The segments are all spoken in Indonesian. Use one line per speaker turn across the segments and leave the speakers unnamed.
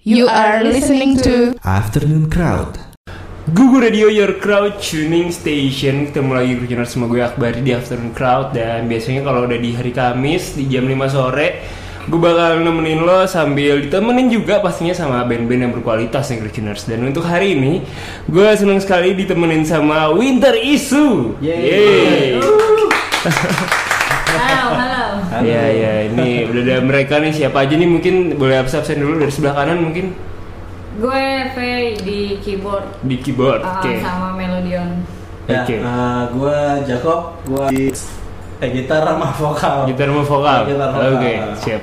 You are listening to
Afternoon Crowd.
Google Radio Your Crowd Tuning Station Ketemu lagi berjenar sama gue Akbar di Afternoon Crowd Dan biasanya kalau udah di hari Kamis di jam 5 sore Gue bakal nemenin lo sambil ditemenin juga pastinya sama band-band yang berkualitas yang Gurgeners Dan untuk hari ini gue seneng sekali ditemenin sama Winter Isu Yeay
Halo, halo.
Iya iya ini udah ada mereka nih siapa aja nih mungkin boleh absen dulu dari sebelah kanan mungkin
Gue V di keyboard
di keyboard
uh,
Oke
sama Melodion.
Ya,
Oke.
eh, gua Jacob, gua di eh, gitar sama vokal.
Gitar sama vokal
Gitar
Oke
vokal.
siap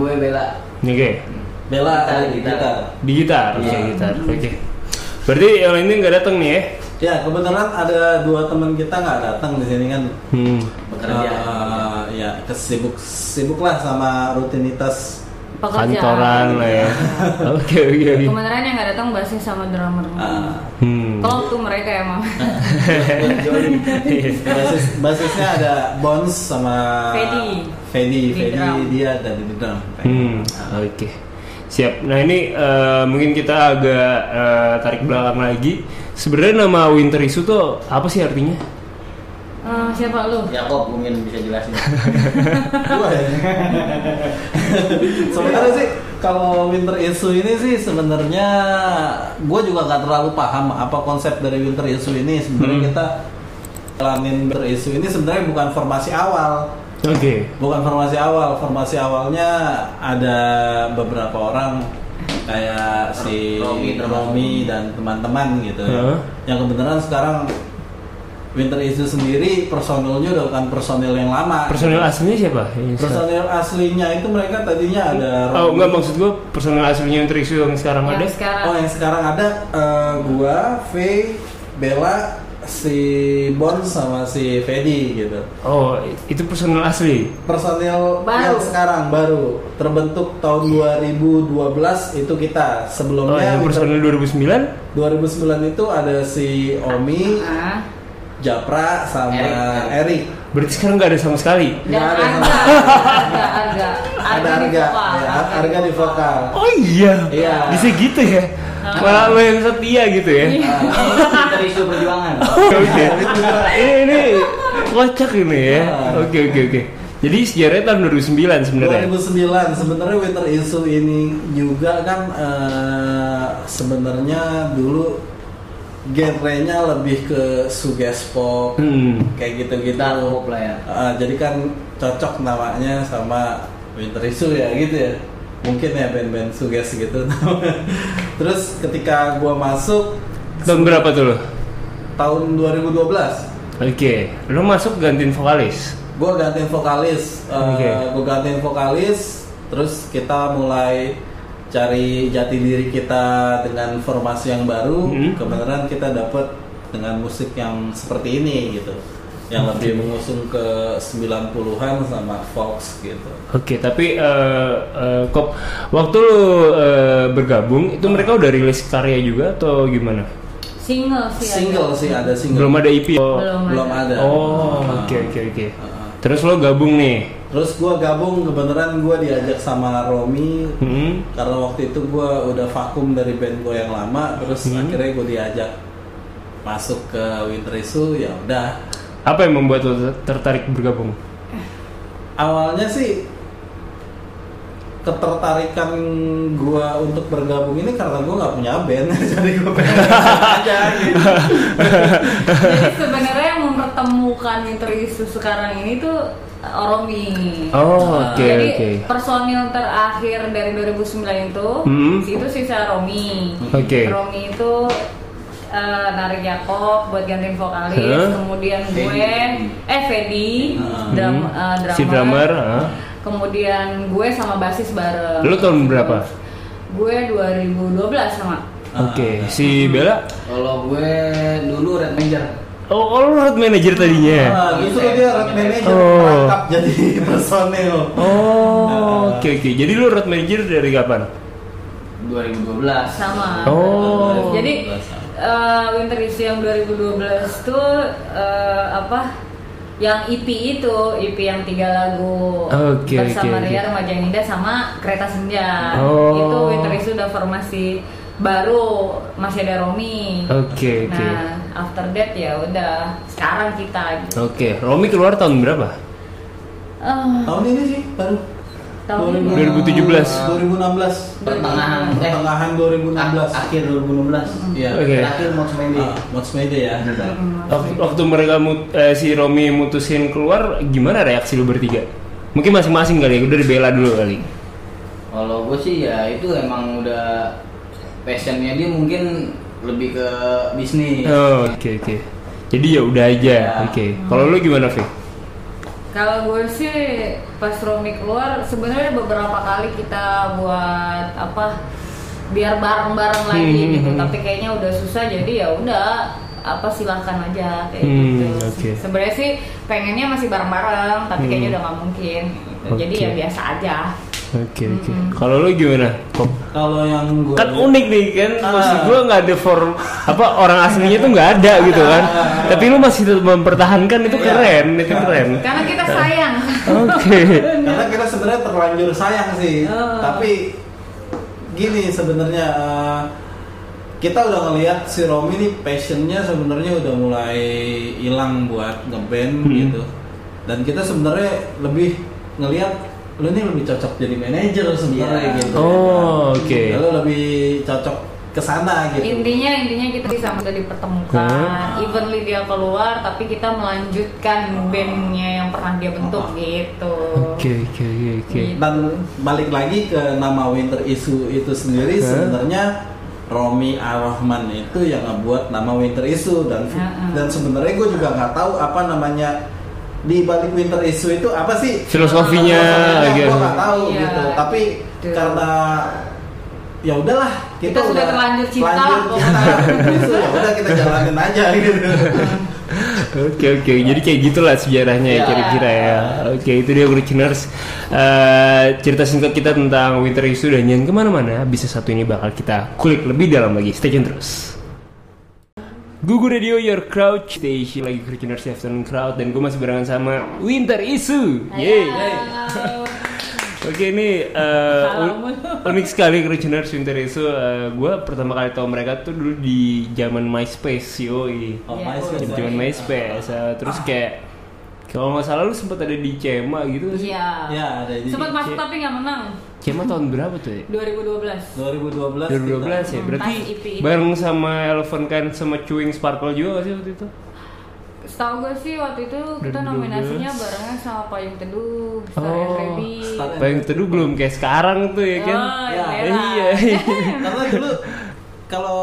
gue Bella
Oke
Bella
Gitar,
eh,
gitar.
gitar.
Di gitar,
Iya.
oke, gitar. Oke. Berarti yang lainnya nggak datang nih ya?
Ya, kebetulan ada dua teman kita nggak datang di sini kan.
Hmm.
bekerja.
Eh, ya, kesibuk sibuklah sama rutinitas.
Pekerjaan.
Kantoran lah ya. Oke, oke, oke.
Kemarin yang nggak datang bassnya sama drummer.
eh,
Hmm.
Kalau tuh mereka ya, emang.
Hmm,
Eh, basis basisnya ada Bones sama
Fedi.
Fedi,
Di
Fedi
drum.
dia ada di drum.
Hmm, oke. Siap. Nah, ini eh, mungkin kita agak eh, tarik belakang lagi. Sebenarnya nama Winter Issue tuh apa sih artinya?
Eh, siapa lu?
Jakob mungkin bisa jelasin.
Gua ya. sebenarnya sih kalau winter issue ini sih sebenarnya gue juga nggak terlalu paham apa konsep dari winter issue ini sebenarnya
Hmm.
kita jalanin winter issue ini sebenarnya bukan formasi awal
Oke.
bukan formasi awal formasi awalnya ada beberapa orang kayak si Romi,
Romi, termasuk.
dan teman-teman gitu ya.
Heeh.
yang kebenaran sekarang Winter Issue sendiri personilnya udah bukan personil yang lama
Personil aslinya siapa? Yang sekarang?
Personil aslinya itu mereka tadinya ada
Oh,
Romi.
enggak maksud gua personil aslinya Winter Issue yang sekarang ada.
Yang sekarang.
Oh, yang sekarang ada eh, gua, V, Bella, si Bon sama si Fedi gitu.
Oh, itu personil asli.
Personil
Baru. Iya.
yang sekarang baru terbentuk tahun 2012 itu kita.
Oh,
Sebelumnya
yang
Winter-
personil 2009?
2009 itu ada si Omi,
Ah.
Japra sama
Erik.
Erik.
Berarti sekarang nggak ada sama sekali.
Dan
Nggak Iya, ada.
Arga, Arga, Arga,
Ada harga, ya, harga di vokal. Nah,
Oh iya.
Iya.
Bisa gitu ya. Malah lo yang setia gitu ya.
Iya.
Kita isu perjuangan.
Oke. ini ini kocak ini ya.
Ah.
Oke oke oke. Jadi sejarahnya tahun 2009 sebenarnya.
2009 sebenarnya winter issue ini juga kan eh, sebenarnya dulu genrenya lebih ke sugespop
Hmm.
kayak gitu-gitu
Kita pop lah ya.
Eh, jadi kan cocok namanya sama winter issue ya gitu ya mungkin ya band-band suges gitu terus ketika gua masuk
Tahun berapa tuh lo?
tahun 2012
Oke. Lo masuk gantiin vokalis.
gue gantiin vokalis
Oke.
gue gantiin vokalis terus kita mulai cari jati diri kita dengan formasi yang baru
Hmm.
kebenaran kita dapet dengan musik yang seperti ini gitu yang
Hmm.
lebih mengusung ke 90-an sama Fox gitu
Oke, tapi eh, eh, kok waktu lo eh, bergabung itu mereka udah rilis karya juga atau gimana?
Single sih. ada.
single sih ada single
Belum ada EP. Oh,
Belum,
belum ada
Oh,
Nah,
oke oke oke.
nah.
Terus lo gabung nih.
terus gue gabung kebenaran gue diajak sama Romi
Hmm.
karena waktu itu gue udah vakum dari band gue yang lama terus
Hmm.
akhirnya gue diajak masuk ke Winter Issue ya udah
Apa yang membuat lo ter- tertarik bergabung?
awalnya sih ketertarikan gue untuk bergabung ini karena gue nggak punya band jadi gue pengen aja gitu
Jadi sebenarnya yang mempertemukan Interisu sekarang ini tuh eh, Oromi. Gitu.
Oh, oke,
Jadi
oke.
personil terakhir dari 2009 itu
Hmm.
itu sisa Romi.
Oke.
Romi itu eh, narik Yakob buat gantiin vokalis,
Huh?
kemudian gue eh Fedi drum, eh, drummer.
Hmm. Si drummer, ah.
Kemudian gue sama basis bareng.
Lu tahun berapa?
Gue 2012 sama.
Oke, si Bella.
Ah. Kalau gue dulu Ah. Red Ranger.
Oh, oh, lu road manager tadinya.
nah, justru dia road manager
Oh.
merangkap jadi personil
Oh, oke oke. Jadi lu road manager dari kapan?
2012
Sama.
Oh.
Jadi eh, Winter Issue yang 2012 tuh eh, apa Yang EP itu, EP yang tiga lagu
Oke,
bersama
oke, oke.
Ria Remaja yang Indah sama Kereta Senja.
Oh.
Itu Winter is udah formasi baru masih ada Romi.
Oke, oke.
Nah, after that ya udah sekarang kita gitu.
Oke, Romi keluar tahun berapa? Oh.
Ah,
Tahun ini sih baru
tahun ini.
2017.
2016
Pertengahan, eh.
pertengahan 2016
akhir 2016
Iya.
Oke.
terakhir Mox Mendy
Ah, What's My Day ya.
Bener, Bang.
Mm,
Waktu, waktu mereka mut- eh, si Romi mutusin keluar, gimana reaksi lu bertiga? Mungkin masing-masing kali ya, udah dibela dulu kali.
Kalau gue sih ya itu emang udah passionnya dia mungkin lebih ke bisnis.
Oh, Oke oke. Jadi ya udah aja.
Ya.
Oke. Kalau lu gimana, Fe?
Kalau gue sih pas Romi keluar sebenarnya beberapa kali kita buat apa biar bareng-bareng lagi
Hmm,
gitu
hmm,
tapi kayaknya udah susah jadi ya udah apa silahkan aja kayak
Hmm,
gitu.
oke.
Sebenarnya sih pengennya masih bareng-bareng tapi kayaknya
Hmm.
udah nggak mungkin. gitu.
Oke.
Jadi ya biasa aja.
Oke oke.
Mm-mm.
Kalau lu gimana? Kok
Kalau yang gue
Iya.
kan unik nih kan maksud
Ah.
gue nggak ada form apa orang aslinya tuh nggak ada gitu
Ah.
kan tapi lu masih tetap mempertahankan itu
Iya.
keren itu keren
Karena kita sayang.
oke
karena kita sebenarnya terlanjur sayang sih tapi gini sebenarnya eh, kita udah ngelihat si Romi nih passionnya sebenarnya udah mulai hilang buat ngeband
Hmm.
gitu dan kita sebenarnya lebih ngelihat lu nih lebih cocok jadi manajer sebenarnya
Iya.
gitu
oh oke
Lu lebih cocok ke sana gitu
intinya intinya kita bisa udah dipertemukan
Hah?
evenly dia keluar tapi kita melanjutkan bandnya yang pernah dia bentuk
Oh.
gitu
oke oke oke oke
dan balik lagi ke nama Winter Issue itu sendiri
Oke.
sebenarnya Romi Arrahman itu yang ngebuat nama Winter Issue dan
Heeh.
dan sebenarnya gue juga nggak tahu apa namanya di balik Winter Issue itu apa sih
filosofinya
gue
gitu
nggak tahu
Iya.
gitu tapi
Betul.
karena ya udahlah
Kita sudah terlanjur cinta lah, Iya.
terlanjur cinta. Itu ya udah kita jalanin aja gitu
Oke oke, jadi kayak gitulah sejarahnya ya
Ya.
kira-kira ya. Oke itu dia Originers cerita singkat kita tentang Winter Issue dan jangan kemana-mana. Bisa satu ini bakal kita kulik lebih dalam lagi. Stay tune terus. Google Radio Your Crowd Station lagi Originers Afternoon Crowd dan gue masih barengan sama Winter Issue.
Iya.
Yeay. Oke ini eh,
Salam
un- unik sekali Originers Winter Issue. gue pertama kali tahu mereka tuh dulu di zaman MySpace yoi.
Oh,
Iya,
MySpace.
boleh.
Zaman MySpace eh, terus kayak kalau nggak salah lu sempat ada di Cema gitu nggak sih?
iya
Ya, ada di
sempat masuk tapi nggak menang
Cema tahun berapa tuh ya?
2012
2012 kita-
2012 ya
Hmm,
berarti
pas IP.
bareng sama Elephant kan sama Chewing Sparkle juga nggak sih waktu itu?
setahu gue sih waktu itu kita
2012.
nominasinya barengan sama Payung Teduh Star
Oh,
and Rabbit.
Star and-
Bayang teduh belum kayak sekarang tuh ya kan?
Oh,
Ya,
iya.
iya.
Karena dulu kalau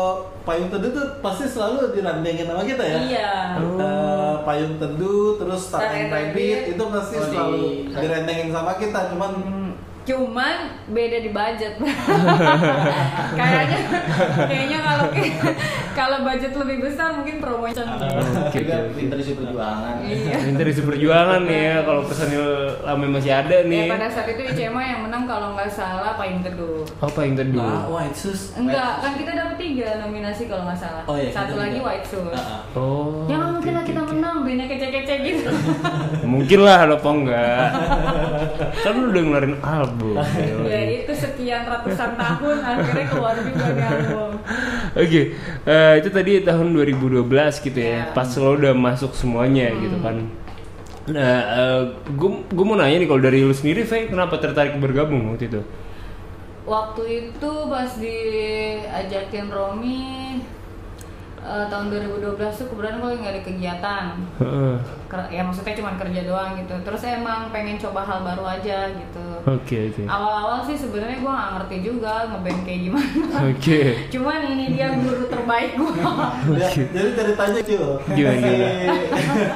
payung teduh tuh pasti selalu dirandengin sama kita ya.
Iya.
Eh, payung teduh terus Star and Rabbit itu pasti
Oh, di-
selalu dirandengin sama kita cuman
cuman beda di budget kayaknya kayaknya kalau kalau budget lebih besar mungkin promonya
Iya.
Oke,
Juga
oke, oke.
pinter sih perjuangan.
iya
Winter isi gitu. perjuangan ya kalau personil lama masih ada
Ya,
nih.
pada saat itu ICMA yang menang kalau nggak salah Payung Teduh.
Apa yang teduh?
ah white shoes.
Enggak, kan kita dapat tiga nominasi kalau nggak salah.
Oh iya.
Satu
kita
lagi
juga.
White Shoes.
Ah, ah.
Oh.
Ya nggak
oke,
mungkin lah
oke,
kita
oke.
menang, bandnya kece-kece gitu.
Mungkin lah lo apa enggak? kan lu udah ngeluarin album.
ya itu sekian ratusan tahun akhirnya keluar juga nih album.
Oke, eh, itu tadi tahun 2012 gitu ya,
Ya.
pas lo udah masuk semuanya gitu kan. Nah, gue mau nanya nih kalau dari lu sendiri, Faye, kenapa tertarik bergabung waktu itu?
Waktu itu pas diajakin Romi eh, tahun 2012 tuh kebetulan gue nggak ada kegiatan.
Heeh,
Ker- ya maksudnya cuma kerja doang gitu. Terus emang pengen coba hal baru aja gitu.
Oke oke
Awal-awal sih sebenarnya gue nggak ngerti juga ngeband kayak gimana.
oke.
Cuman ini dia guru terbaik gue.
Ya, jadi ceritanya cuy.
Gimana, gimana?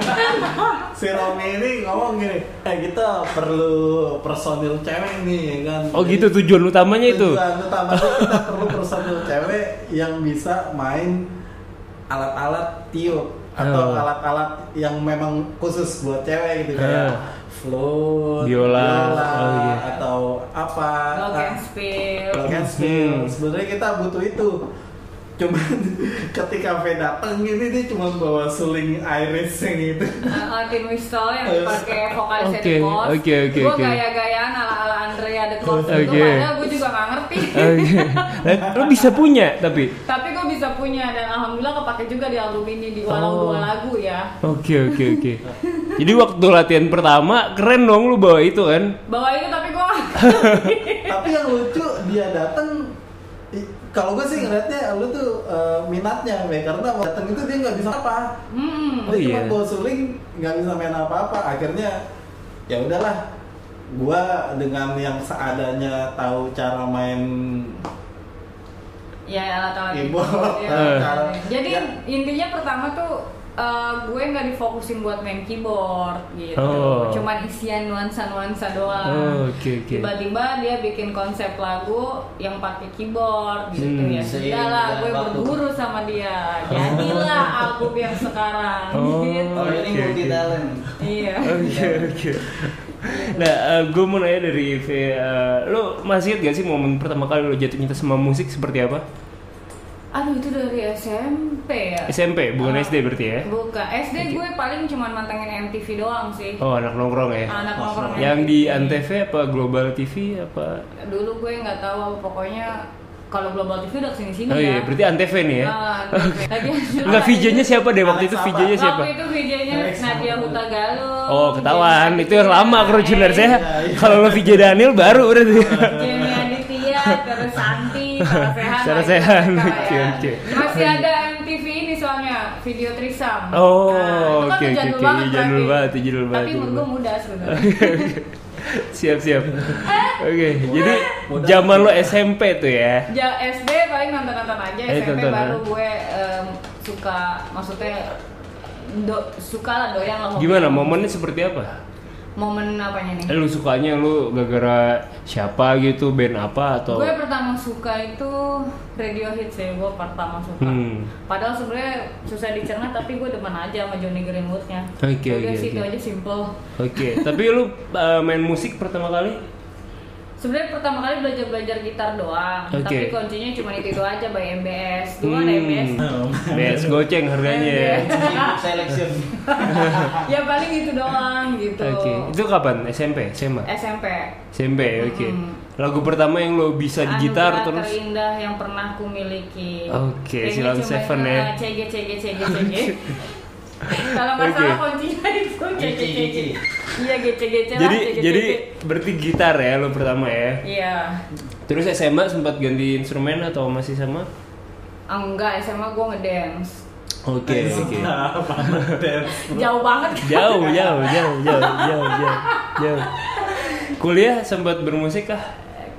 si Romi ini ngomong gini, eh kita perlu personil cewek nih ya kan.
Oh
Jadi-
gitu tujuan utamanya itu.
Tujuan utamanya kita perlu personil cewek yang bisa main alat-alat tiup atau
Oh.
alat-alat yang memang khusus buat cewek gitu
Ah.
kayak flute,
Biola, oh iya.
atau apa.
Lock and
Ah,
spill.
Block and spill.
Hmm.
Sebenarnya kita butuh itu. Cuma ketika V datang gini dia cuma bawa suling iris yang itu.
Latin whistle yang dipakai vokalis
Oke,
Edi Pos.
oke, oke,
Gue
oke.
gaya-gayaan ala-ala Andrea The Closet itu
Oke.
padahal gue juga gak ngerti.
Oke. Eh, Lo bisa punya tapi.
Tapi gue bisa punya dan alhamdulillah kepake juga di album ini di walau
Oh.
dua lagu ya.
Oke oke oke. Jadi waktu latihan pertama keren dong lu bawa itu kan?
Bawa itu tapi gue
Tapi yang lucu dia datang i- kalau gue sih ngeliatnya lu tuh eh, minatnya Be, karena datang itu dia nggak bisa apa
hmm.
Oh,
Dia
iya.
cuma bawa suling nggak bisa main apa-apa akhirnya ya udahlah gua dengan yang seadanya tahu cara main
Ya gitu. alat alat
Ibu.
Eh.
Jadi
Ya.
intinya pertama tuh eh, gue nggak difokusin buat main keyboard gitu,
Oh.
cuman isian nuansa-nuansa doang.
Oh, oke, oke.
Tiba-tiba dia bikin konsep lagu yang pakai keyboard gitu
Hmm.
ya.
Seiring
Sudahlah, gue
dengan waktu.
berguru sama dia. Jadilah album yang sekarang.
Oh.
Gitu.
Kalau ini
Oke, oke.
multi talent.
Iya.
Oke oke. Nah, gue mau nanya dari V, eh, lo masih ingat gak sih momen pertama kali lo jatuh cinta sama musik seperti apa?
Aduh itu dari SMP ya.
SMP, bukan
Ah.
SD berarti ya?
Buka SD gue paling cuman mantengin MTV doang sih.
Oh, anak nongkrong ya?
Anak nongkrong
Yang
MTV.
di Antv apa Global TV apa?
dulu gue nggak tahu apa pokoknya kalau global TV udah kesini sini
Oh
ya
iya, berarti Antv nih ya?
Ah, lagi
Enggak, VJ-nya siapa deh waktu itu?
Alex apa?
VJ-nya siapa?
Waktu itu VJ-nya Nadia Huta Galung
Oh, ketahuan. Itu yang lama ya. kerucut dari saya.
iya.
Kalau lo VJ Daniel baru berarti.
Jamie Aditya, terus Santi, Sarah Sehan
Sarah
lagi,
Sehan,
mereka
oke,
ya.
oke.
Masih ada MTV ini soalnya, video Trisam
Oh,
Nah,
oke,
itu kan
oke, oke.
jadul banget
Iya, jadul
berarti.
banget, iya, jadul banget,
Tapi menurut Eh.
jadul
gue
banget.
muda sebenarnya
siap siap. Oke, jadi zaman lo SMP tuh ya.
Ja- SD paling nonton-nonton aja,
Eh,
SMP
tonton,
baru
ya.
gue em, suka, maksudnya do- suka lah doyan lah hobi.
Gimana momennya seperti apa?
Momen apanya nih?
Eh, lu sukanya lu gara-gara siapa gitu, band apa atau
Gue pertama suka itu radio hits ya, gue pertama suka.
Hmm.
Padahal sebenarnya susah dicerna tapi gue demen aja sama Johnny Greenwoodnya.
Oke,
Udah
oke,
sih itu
oke.
aja simple.
Oke, tapi lu uh, main musik pertama kali?
Sebenarnya pertama kali belajar belajar gitar doang,
Oke.
tapi kuncinya cuma itu itu aja by MBS. Dulu ada Iya,
Hmm.
MBS.
Bes goceng harganya ya.
Selection.
ya paling itu doang gitu.
Oke, itu kapan? SMP, SMA?
SMP.
SMP, oke.
Mm-mm. Anu,
Lagu pertama yang lo bisa di gitar
Anugerah
terus
terindah yang pernah ku miliki. Kayaknya
Oke, Silon
cuma,
Seven ya.
eh, CG CG CG CG. Kalau nggak
Oke.
salah kuncinya itu CG
Cici,
CG.
cici.
Iya gece-gece lah, gitu.
Jadi
gece-gece.
jadi berarti gitar ya lo pertama ya.
Iya
Terus SMA sempat ganti instrumen atau masih sama?
Ah, Enggak, SMA gue ngedance
Oke, oke.
apa
Jauh banget kan?
Jauh, ya. jauh, jauh, jauh, jauh, jauh. jauh. Kuliah sempat bermusik kah?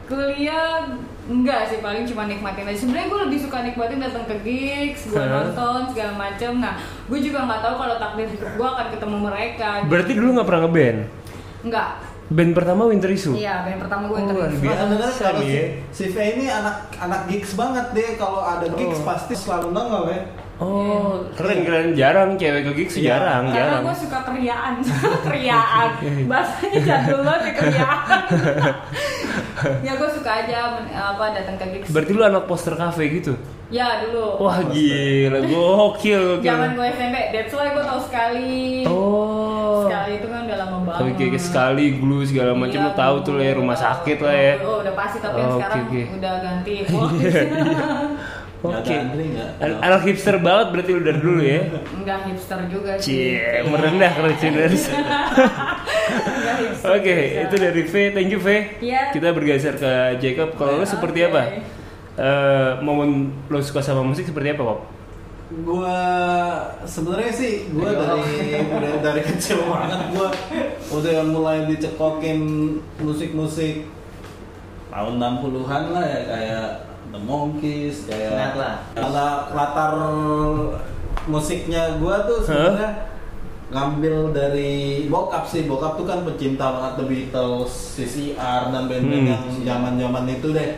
Kuliah enggak sih, paling cuma nikmatin aja Sebenarnya gue lebih suka nikmatin datang ke gigs, gue
Hah?
nonton segala macem Nah, gue juga nggak tahu kalau takdir hidup gue akan ketemu mereka gitu.
Berarti dulu nggak pernah ngeband.
Enggak,
Band pertama Winter Issue.
iya band pertama gue
Oh,
interview
biasa
Nah, sebenarnya kalau
nih
si,
ya.
si V ini anak anak gigs banget deh kalau ada gigs
Oh.
pasti selalu nongol ya
Oh, keren keren jarang cewek ke gigs
Iya.
jarang,
Karena
jarang.
gue suka keriaan Keriaan Bahasanya jadul banget ya, keriaan Ya gue suka aja men- apa datang ke gigs
Berarti lu anak poster cafe gitu.
Ya dulu
Wah, gila, gokil, gokil.
Zaman gue SMP, that's why gue tau sekali.
Oh.
Sekali itu kan udah lama banget.
Oke, oke, sekali glue segala macam
Iya,
lu tahu tuh lah ya
gua
rumah
tahu.
sakit lah ya.
Oh, udah pasti tapi yang
Oh, oke,
sekarang
oke. Iya.
udah ganti.
Nggak ada
Oke.
Andri, nggak?
An- Anak hipster banget berarti lu dari dulu ya.
Enggak hipster juga sih.
Cie, merendah kalau cie dari
Nggak hipster
Oke,
juga.
itu dari V. Thank you V.
Iya.
Kita bergeser ke Jacob. Kalau lu
Oke.
seperti apa? Eh, momen lo suka sama musik seperti apa, Pop?
gua sebenarnya sih gua dari dari, dari kecil banget gua udah mulai dicekokin musik-musik tahun 60-an lah ya kayak The Monkeys kayak
Sinatra.
karena latar musiknya gua tuh sebenarnya ngambil dari bokap sih bokap tuh kan pecinta banget The Beatles, CCR dan band-band
Hmm.
yang zaman-zaman itu deh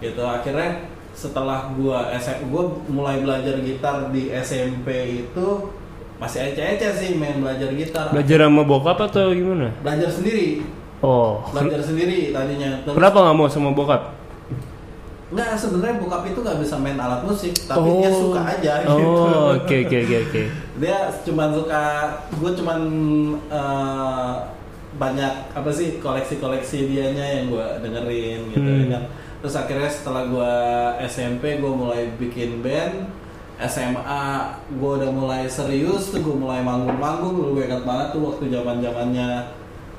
gitu akhirnya setelah gua SM gua mulai belajar gitar di SMP itu masih ece-ece sih main belajar gitar
Belajar sama bokap atau gimana?
belajar sendiri
Oh. ken-
belajar sendiri tadinya Terus-
Kenapa nggak mau sama bokap?
Enggak, sebenarnya bokap itu nggak bisa main alat musik, tapi dia suka aja gitu.
Oh, oke oke oke oke.
Dia cuman suka, gue cuman eh, banyak apa sih koleksi-koleksi dianya yang gue dengerin gitu
Hmm.
kan. Terus akhirnya setelah gue SMP gue mulai bikin band, SMA gue udah mulai serius tuh gue mulai manggung-manggung dulu gue ingat banget tuh waktu zaman zamannya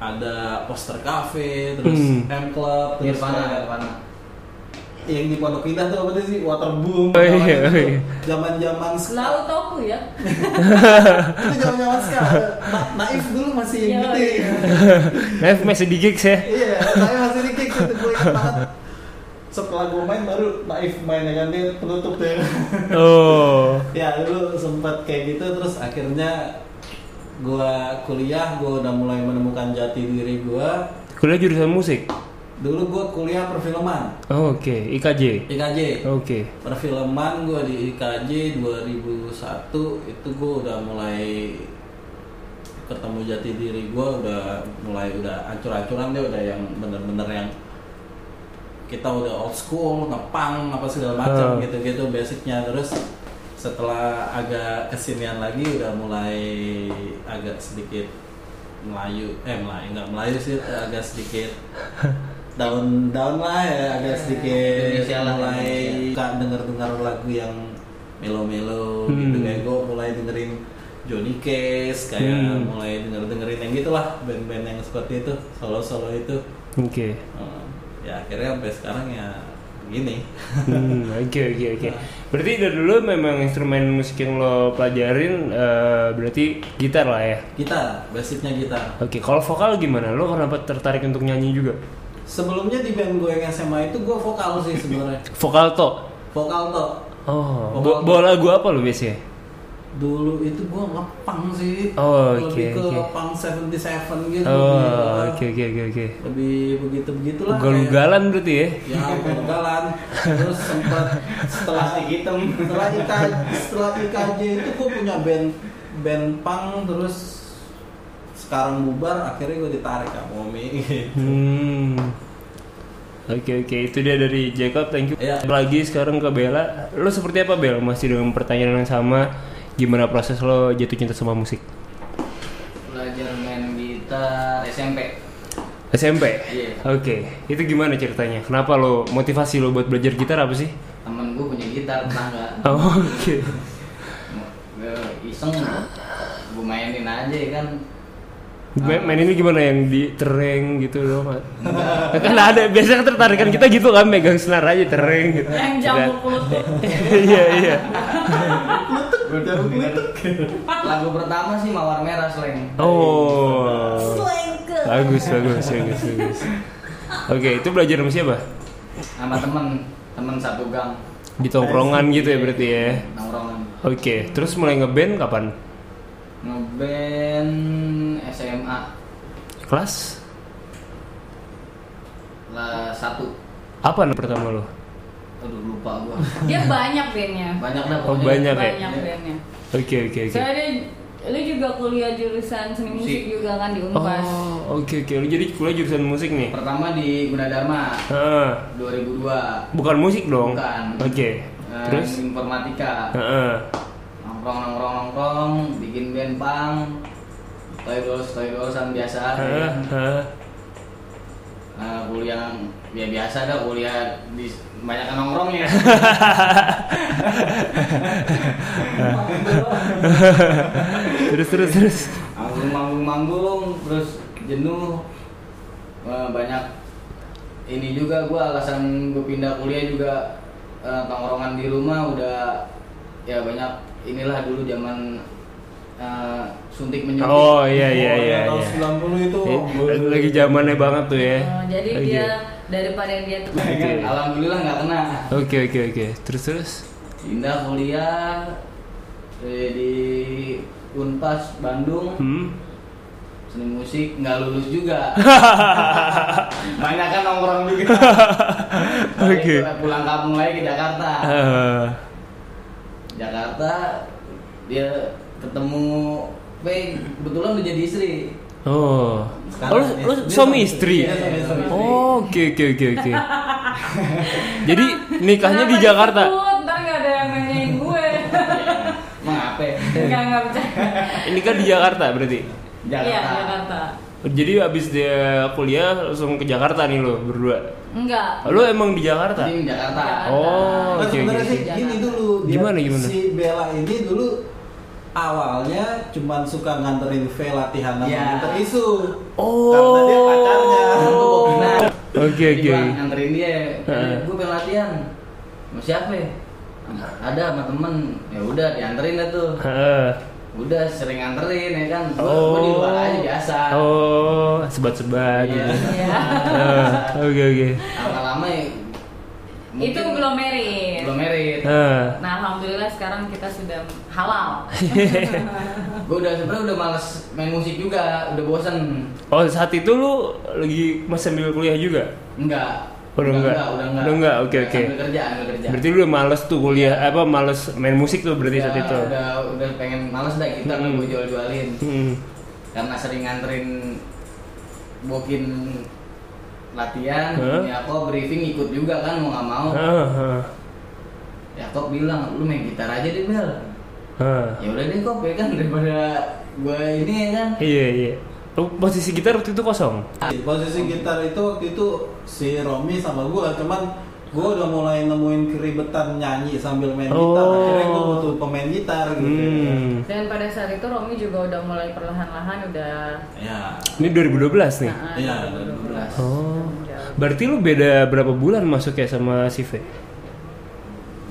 ada poster cafe terus
Hmm.
M Club terus
Nirvana,
eh,
kayak-
Nirvana.
yang di Pondok Indah tuh apa tuh sih waterboom
Oh, iya,
Apa
iya.
itu? zaman-zaman
Laut
sekarang
toku ya.
itu zaman-zaman sekarang Na- naif dulu masih yang
Iya,
gede
iya.
Nah, masih di gigs ya.
iya tapi masih di kick gitu gue ingat banget setelah gue main baru naif mainnya kan dia penutup tuh ya.
Oh.
ya dulu sempat kayak gitu terus akhirnya gue kuliah gue udah mulai menemukan jati diri gue
Kuliah jurusan musik.
dulu gue kuliah perfilman
Oh, oke, IKJ.
IKJ
Oke.
perfilman gue di IKJ 2001 itu gue udah mulai ketemu jati diri gue udah mulai udah ancur-ancuran dia udah yang bener-bener yang kita udah old school ngepang apa segala macam
Hmm.
gitu-gitu basicnya terus setelah agak kesinian lagi udah mulai agak sedikit melayu eh melayu nggak melayu sih agak sedikit down down lah ya agak sedikit
Indonesia lah,
mulai
Indonesia.
suka denger-dengar lagu yang melo-melo
Hmm.
gitu kayak gue mulai dengerin Johnny Case kayak
Hmm.
mulai denger-dengerin yang gitulah band-band yang seperti itu solo-solo itu
Oke.
Hmm. ya akhirnya sampai sekarang ya begini
Hmm, oke oke oke. Berarti dari dulu memang instrumen musik yang lo pelajarin eh, berarti gitar lah ya.
gitar basicnya gitar
Oke, kalau vokal gimana? Lo kenapa tertarik untuk nyanyi juga?
sebelumnya di band gue yang SMA itu gue vokal sih sebenarnya
Vokal to.
vokal toh
Oh,
Vokal
bo-
to.
bawa lagu apa lo biasanya?
dulu itu gue ngepang sih
Oh, oke,
lebih ke
oke.
punk 77 gitu
Oh, oke oke oke oke.
lebih begitu begitulah
Ugal-ugalan berarti ya.
ya ugal-ugalan terus sempat setelah hitam setelah IKJ, setelah IKJ itu gue punya band band punk terus sekarang bubar akhirnya gue ditarik sama Omi
Hmm. Oke oke itu dia dari Jacob thank you.
Iya.
Lagi sekarang ke Bella. Lo seperti apa Bella? Masih dengan pertanyaan yang sama. Gimana proses lo jatuh cinta sama musik?
Belajar main gitar SMP.
SMP.
Iya.
Oke, itu gimana ceritanya? Kenapa lo motivasi lo buat belajar gitar apa sih?
Temen gue punya gitar tetangga.
Oh, Oke.
Gua iseng gue mainin aja ya kan
Ma- Main ini gimana yang di tereng gitu loh, Mat? kan ada biasanya ketertarikan kita gitu kan megang senar aja tereng gitu.
Yang jamur mulut tuh.
Iya iya.
lagu pertama sih mawar merah slang
Oh.
Selengke.
Bagus bagus bagus bagus. Oke, itu belajar sama siapa?
sama temen temen satu gang
Di tongkrongan gitu ya berarti ya.
nongkrongan
Oke, terus mulai ngeband kapan?
ngeband SMA
Kelas
lah satu
apa nama pertama lo?
aduh lupa gua
Dia banyak bandnya.
banyak dah
Oh, Banyak
pokoknya
ya?
Banyak bandnya.
Oke oke oke.
Saya ada lu juga kuliah jurusan seni musik
Musik.
juga kan di Unpas.
Oh, oke oke. Lu jadi kuliah jurusan musik nih.
pertama di Gunadarma
Heeh.
2002
bukan musik dong.
Bukan.
Oke.
Eh,
Terus
informatika
Heeh.
nongkrong nongkrong nongkrong bikin band pang toy dolls toy dollsan biasa ya
Heeh,
kan.
heeh.
Eh, kuliah ya biasa dah kuliah di banyak nongkrong ya
Terus terus terus.
manggung manggung manggung terus jenuh Eh, banyak ini juga gua alasan gue pindah kuliah juga eh, tongkrongan di rumah udah ya banyak inilah dulu zaman eh, suntik menyuntik
Oh iya iya iya.
tahun
iya.
90 itu
Eh,
gue-
Lagi zamannya banget tuh ya.
Oh, jadi
Oke. Nah,
dia daripada dia tuh
Ya kan?
Oke.
alhamdulillah nggak kena
Oke oke oke. Terus terus.
pindah kuliah eh, di Unpas Bandung
Hmm.
seni musik nggak lulus juga banyak kan nongkrong juga Balik
Oke.
ke- pulang kampung lagi ke Jakarta
Eh,
Jakarta dia ketemu P kebetulan udah jadi istri
oh.
Sekarang
Oh, lu,
dia-
lu
dia
suami
suami
istri.
istri. Iya, suami istri.
Oh, Oke oke oke oke. Jadi Nikahnya di
Kenapa
Jakarta.
disebut? Ntar nggak ada yang nanyain gue.
Emang apa ya?
Nggak nggak bercanda.
Nikah kan di Jakarta berarti.
Iya
Jakarta.
Jakarta.
Jadi abis dia kuliah langsung ke Jakarta nih lo berdua.
Enggak.
Lo emang di Jakarta?
Ini Jakarta.
Jakarta.
Oh,
Nah,
oke oke.
sebenarnya
oke.
sih gini dulu.
Gimana, gimana?
Si Bella ini dulu awalnya cuman suka nganterin V latihan sama
Iya.
Winter Isu.
Oh.
Karena dia pacarnya.
Nah,
Oke oke.
dibilang nganterin dia,
Heeh.
gue pengen latihan. Mau siapa ya? Ada sama temen, ya udah dianterin dah tuh.
Heeh.
Udah sering nganterin ya kan. Gue di
Oh.
luar aja biasa.
Oh, sebat-sebat
Iya.
gitu.
Iya.
Heeh, Oke oke.
Lama-lama ya, mungkin
Itu belum merit.
belum merit.
Heeh.
Nah alhamdulillah sekarang kita sudah halal.
Gue udah sebenarnya udah males main musik juga, udah bosen.
Oh, saat itu lu lagi mas sambil kuliah juga?
Enggak.
Oh, Udah enggak?
udah enggak.
Udah enggak, oke, oke.
Sambil kerja, sambil kerja.
Berarti lu udah males tuh kuliah apa males main musik tuh berarti
udah,
saat itu.
udah, udah pengen males dah kita
Hmm.
gue jual-jualin.
Hmm.
karena sering nganterin bokin latihan
Hah?
ya kok briefing ikut juga kan mau nggak mau
Heeh, heeh,
ya kok bilang lu main gitar aja deh bel
heeh.
ya udah deh kok ya kan daripada gua ini ya kan
Iya iya. Lu Posisi gitar waktu itu kosong.
Di Posisi gitar itu waktu itu si Romi sama gua cuman gua udah mulai nemuin keribetan nyanyi sambil main gitar.
Oh.
Akhirnya gua butuh pemain gitar gitu.
Hmm.
Dan pada saat itu Romi juga udah mulai perlahan-lahan udah.
Ya.
Ini 2012 nih.
Nah,
Iya,
udah
2012.
Oh. Berarti lu beda berapa bulan masuknya sama si V?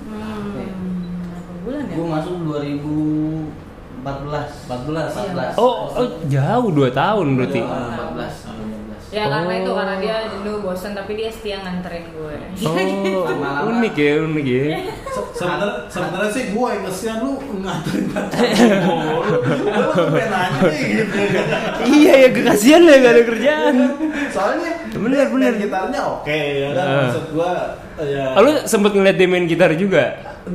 Hmm, berapa bulan ya?
gua masuk 2014 14 14
Oh, oh, jauh 2 tahun berarti.
Dua.
14 15
Ya karena
Oh.
itu karena dia jenuh bosen tapi dia setia nganterin gue.
Oh,
Lama-lama.
unik ya, unik ya.
Se- sebener- Sebenarnya sih gue yang ngesian lu nganterin pacar lu. Lu pengen nanya nih, gitu.
iya ya, kasihan lah gak ada kerjaan.
Soalnya
Bener,
dia
bener.
main gitarnya oke ya kan
Heeh.
maksud gua ya.
Oh, lu sempet ngeliat dia main gitar juga?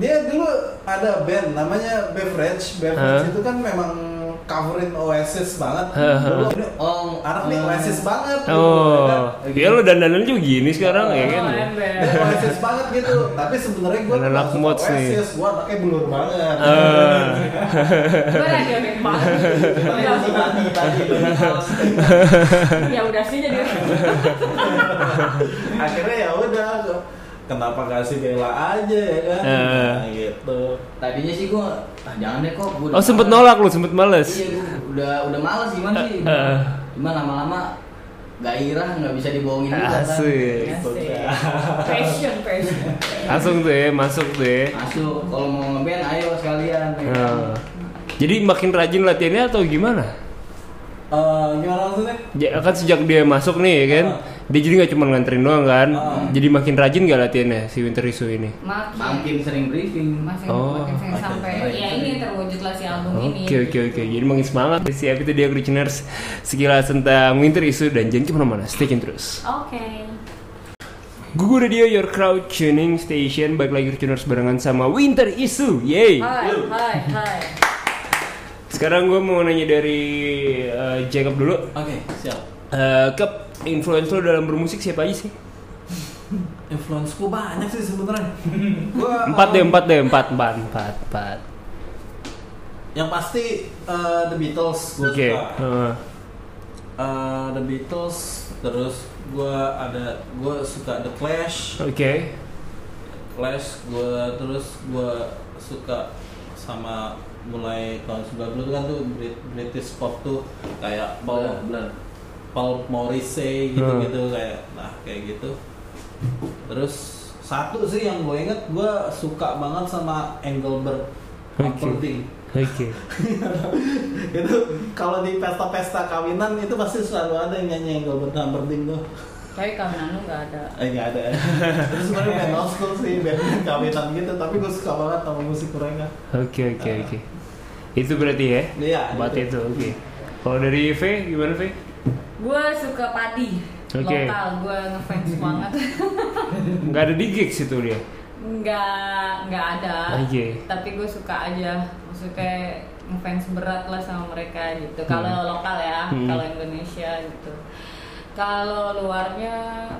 Dia dulu ada band namanya Beverage. Beverage
Heeh.
itu kan memang coverin Oasis banget.
Heeh.
Dulu dia,
oh
anak nih
eh,
Oasis banget gitu, ya kan.
Oh, ya lu dandanan juga gini sekarang ya kan?
Oh, ember.
Dia Oasis banget gitu, tapi sebenarnya gue
Anak mods nih.
Oasis, gue anaknya blur banget.
Eh.
Gue radionik banget.
Tadi tadi, tadi.
ya udah sih jadi.
akhirnya ya udah kenapa kasih Bella aja ya kan
Eh.
Nah, gitu
tadinya sih gua ah jangan deh kok gua udah
Oh, sempet
males."
nolak lu, sempet males.
Iya, gua udah udah males gimana sih?
Eh, eh.
Cuman lama-lama gairah nggak bisa dibohongin juga kan.
Asik.
Asik. Passion, passion.
Langsung tuh ya, masuk tuh ya.
Masuk kalau mau ngeband ayo sekalian. ya kan?
Nah. Jadi makin rajin latihannya atau gimana?
Eh, gimana maksudnya
Ya, kan sejak dia masuk nih ya kan, dia jadi nggak cuma nganterin doang kan, jadi makin rajin nggak latihannya si Winter Isu ini.
Makin
Makin sering briefing.
makin
Oh.
makin sering sampai ya ini terwujudlah si album ini.
Oke oke oke, jadi makin semangat. Siap itu dia Cruciners sekilas tentang Winter Isu dan jangan kemana-mana, stay tune terus.
Oke.
Google Radio Your Crowd Tuning Station, balik lagi Cruciners barengan sama Winter Isu, yay!
Hai, hai, hai.
Sekarang gue mau nanya dari eh, Jacob dulu.
oke siap
Eh, Kep, influence lo dalam bermusik siapa aja sih?
influence ku banyak sih sebenarnya gua
Empat
eh,
deh, empat deh, empat, empat, empat, empat.
yang pasti eh, The Beatles gue
Oke.
suka
heeh.
Eh, The Beatles terus gue ada gue suka The Clash
Oke.
Clash gue terus gue suka sama mulai tahun 90 kan tuh Brit- British pop tuh kayak Paul
Blur, blur.
Paul Morrissey gitu-gitu kayak nah kayak gitu terus satu sih yang gue inget gue suka banget sama Engelbert Humperdinck
Oke.
itu kalau di pesta-pesta kawinan itu pasti selalu ada yang nyanyi Engelbert Humperdinck tuh
Tapi kawinan lu nggak ada.
eh nggak ada ya terus sebenarnya band old school sih band kawinan gitu tapi gue suka banget sama musik mereka
Oke, oke, oke. Itu berarti ya?
Iya,
Buat
itu.
itu, oke. Kalau dari V gimana V?
Gue suka padi
Oke.
lokal. Gue ngefans banget.
Nggak ada di gigs itu dia.
nggak nggak ada.
Oke.
Tapi gue suka aja. Maksudnya ngefans berat lah sama mereka gitu. Kalau lokal ya,
Hmm.
kalau Indonesia gitu. Kalau luarnya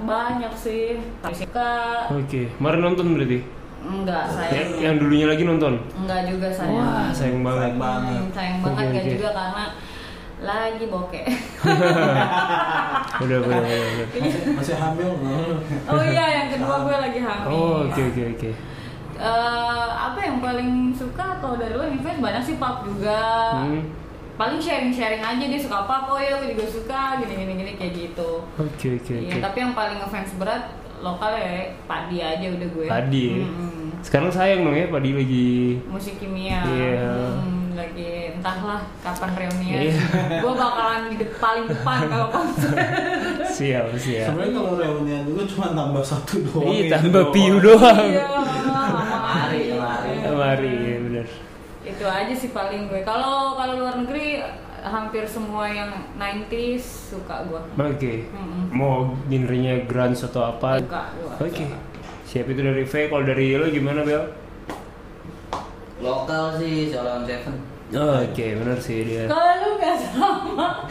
banyak sih. Suka
Oke, kemarin nonton berarti?
enggak
Ya,
sayang.
yang dulunya lagi nonton?
Enggak juga sayang.
Wah, sayang banget. Iya,
Sayang banget.
Hmm, sayang banget
Oke,
enggak
oke.
juga karena lagi bokeh.
Udah, udah, udah. udah.
masih hamil nggak?
oh iya, yang kedua gue lagi hamil.
Oh, oke, oke, oke.
Eh, apa yang paling suka kalau dari lo event banyak sih pub juga
Hmm,
paling sharing sharing aja dia suka apa oh ya aku juga suka gini gini gini kayak gitu
Oke, oke,
Iya,
oke.
tapi yang paling ngefans berat lokal ya padi aja udah gue
Padi.
Mm-mm.
Sekarang sayang dong ya, Padi lagi...
musik kimia
Iya.
Mm, lagi entahlah kapan reunian
Iya.
gue bakalan di de- paling depan kalau konser
Siap, siap.
Sebenarnya kalau reunian juga cuma tambah satu doang. gitu.
Ih,
itu
tambah
doang.
piu doang.
iya sama Ari
Mari, ya, bener.
itu aja sih paling gue kalau kalau luar negeri hampir semua yang 90s suka gue
Oke.
Mm-mm.
Mau genrenya grunge atau apa?
suka gue
Ah, Oke. Siap itu dari V, kalau dari lo gimana, Bel?
lokal sih soal Seven
Oh, oke, bener sih dia.
kalau lu gak sama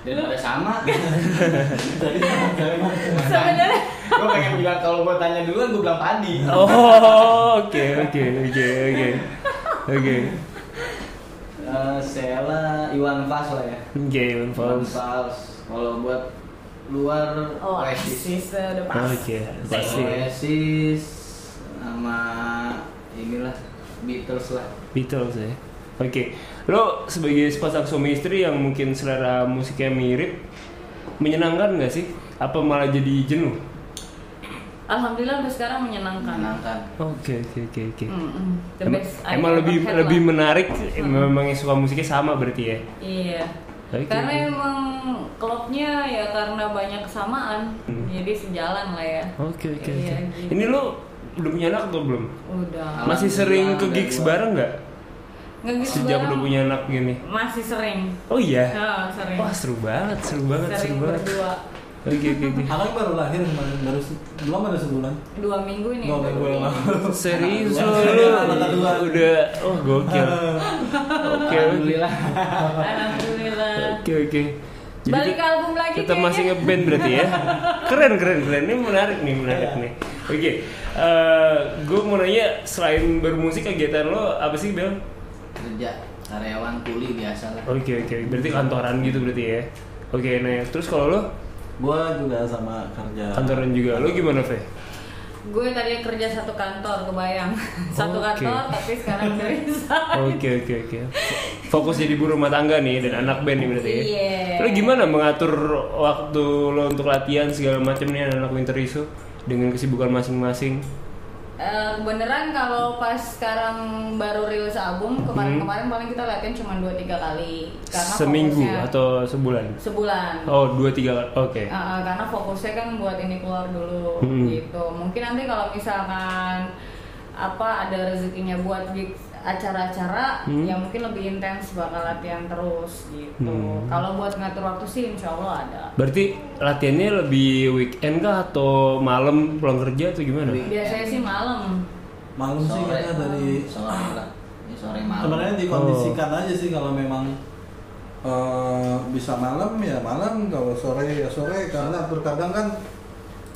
dan ada sama
Jadi sama kayak emang.
sebenarnya
gue pengen bilang kalau gue tanya duluan gue bilang padi
Oh, oke, oke, oke, oke. Oke.
Eh, Sela Iwan Fals lah ya
Oke, Iwan
Iwan
Fals.
Fals kalau buat luar
oh
Oasis
asis udah pasti
Oke, pasti.
Oasis sama inilah Beatles lah
Beatles ya. Oke, lo sebagai sepasang suami istri yang mungkin selera musiknya mirip, menyenangkan nggak sih? Apa malah jadi jenuh?
alhamdulillah sampai sekarang
Iya.
menyenangkan
menyenangkan
Oke, oke, oke, oke.
Mm-mm. The
Emang,
best I
emang
ever
lebih
had
lebih
lah.
menarik memang yang suka musiknya sama berarti ya.
Iya.
Oke.
Karena emang klubnya ya karena banyak kesamaan,
Hmm.
jadi sejalan lah ya.
Oke, oke, oke.
Iya, gitu.
Ini lo udah punya anak atau belum?
Udah.
Masih sering ke
Alhamdulillah,
gigs
udah dua.
bareng nggak?
Nggak gitu
Sejak
doang.
udah punya anak gini.
Masih sering.
Oh iya.
Oh, sering.
Wah seru banget, seru banget,
sering
seru banget.
berdua.
Oke, oke, oke.
Anaknya baru lahir kemarin, baru se- belum ada sebulan.
Dua minggu nih.
Dua minggu yang lalu.
Serius
Anak
lo
kedua.
lo
Anak kedua.
udah oh gokil. Oke oke
Alhamdulillah
Alhamdulillah.
oke oke. Jadi
Balik
tet-
ke album lagi
tetap
kayaknya.
masih ngeband berarti ya. Keren keren keren ini menarik nih menarik
Iya.
nih. Oke, eh gue mau nanya selain bermusik kegiatan lo apa sih Bel?
kerja karyawan kuli biasa lah
Oke oke, berarti kantoran gitu berarti ya. Oke, nah terus kalau lo
Gua juga sama kerja.
kantoran juga, lo gimana Fe?
Gue tadi kerja satu kantor, kebayang. satu
Oke.
kantor, tapi sekarang bisa.
Oke oke oke. Fokus jadi ibu rumah tangga nih dan anak band nih berarti. ya?
Iya.
Lo gimana mengatur waktu lo untuk latihan segala macam nih anak winter isu dengan kesibukan masing-masing?
Eh, beneran kalau pas sekarang baru rilis album
Hmm.
kemarin-kemarin paling kita latihan cuma 2-3 kali karena
Seminggu
fokusnya
atau sebulan?
sebulan
Oh dua tiga oke.
Eh, eh, karena fokusnya kan buat ini keluar dulu
Hmm.
gitu mungkin nanti kalau misalkan apa ada rezekinya buat gig acara-acara
Hmm.
ya mungkin lebih intens bakal latihan terus gitu
Hmm.
kalau buat ngatur waktu sih insya Allah ada
Berarti latihannya lebih weekend kah atau malam pulang kerja atau gimana?
biasanya sih malam
Malu Oh, sih
sore
kayaknya dari
sore lah ini sore malam
sebenarnya dikondisikan aja sih kalau memang eh, bisa malam ya malam kalau sore ya sore karena terkadang kan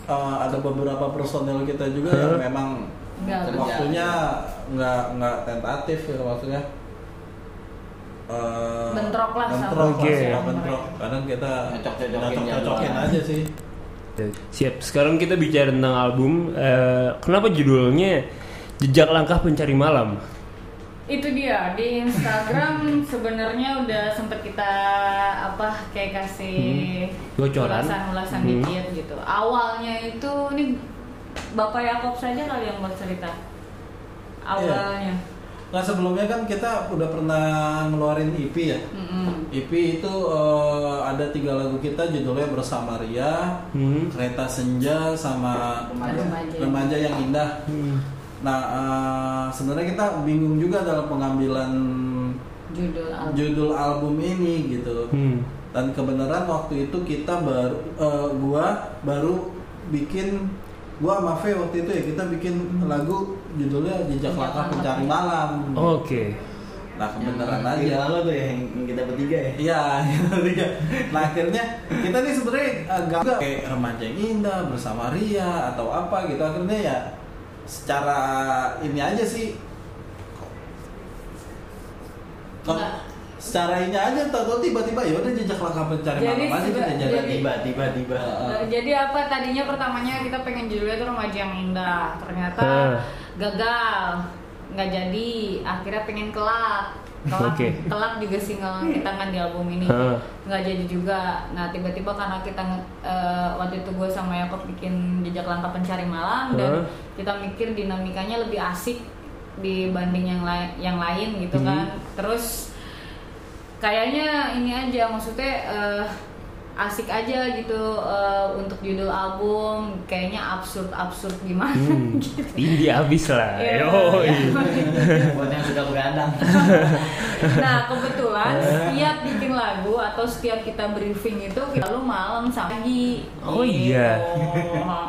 eh, ada beberapa personel kita juga yang memang
Nggak.
Kerja.
waktunya nggak nggak tentatif ya maksudnya Eh,
Bentrok lah sama
bentrok lah,
Oke.
sama bentrok kadang kita
Cocok-cocokin
cocokin
jadwal.
aja sih
Siap. Sekarang kita bicara tentang album. Eh, kenapa judulnya Jejak Langkah Pencari Malam?
itu dia di Instagram sebenarnya udah sempet kita apa kayak kasih
Hmm. Bocoran.
ulasan-ulasan
Hmm.
dikit gitu awalnya itu ini Bapak Yakob saja kali yang bercerita awalnya
nah sebelumnya kan kita udah pernah ngeluarin EP ya
Mm-mm.
EP itu eh, ada tiga lagu kita judulnya Bersama Ria,
Hmm.
Kereta Senja sama
Remaja.
Remaja.
Remaja yang Indah.
Hmm.
Nah, eh, sebenarnya kita bingung juga dalam pengambilan
judul album
judul album ini gitu.
Hmm.
Dan kebenaran waktu itu kita baru eh, gua baru bikin gua sama Fe waktu itu ya kita bikin lagu judulnya
Jejak
Jejak Langkah
Langkah.
Oh.
Pencari Malam.
Oke.
Nah, nah kebenaran
Yang
aja
Kira lo tuh ya, yang yang kita bertiga ya.
Iya, iya. Nah akhirnya kita nih sebenarnya agak nggak kayak remaja yang indah bersama Ria atau apa gitu akhirnya ya secara ini aja sih. Kok-
Nggak.
secara ini aja tahu tiba-tiba ya udah jejak langkah pencari
Jadi
malam aja
juga-
kita
jadi-
jadi.
Tiba, tiba, tiba.
Eh, Jadi apa tadinya pertamanya kita pengen judulnya tuh remaja yang indah, ternyata
Ah.
gagal, nggak jadi. Akhirnya pengen kelak, kelak,
Oke.
kelak juga single kita kan di album ini
Ah.
nggak jadi juga. Nah tiba-tiba karena kita nge- eh, waktu itu gue sama Yakob bikin jejak langkah pencari malam dan
Ah.
kita mikir dinamikanya lebih asik dibanding yang lain, yang lain gitu kan. Terus kayaknya ini aja maksudnya eh, asik aja gitu eh, untuk judul album kayaknya absurd absurd gimana
Hmm.
gitu
Indie abis lah.
Ya.
Yoi.
Buat yang suka begadang.
nah kebetulan
Eh.
setiap bikin lagu atau setiap kita briefing itu kita lu malam sampai pagi
Oh,
Gitu.
iya.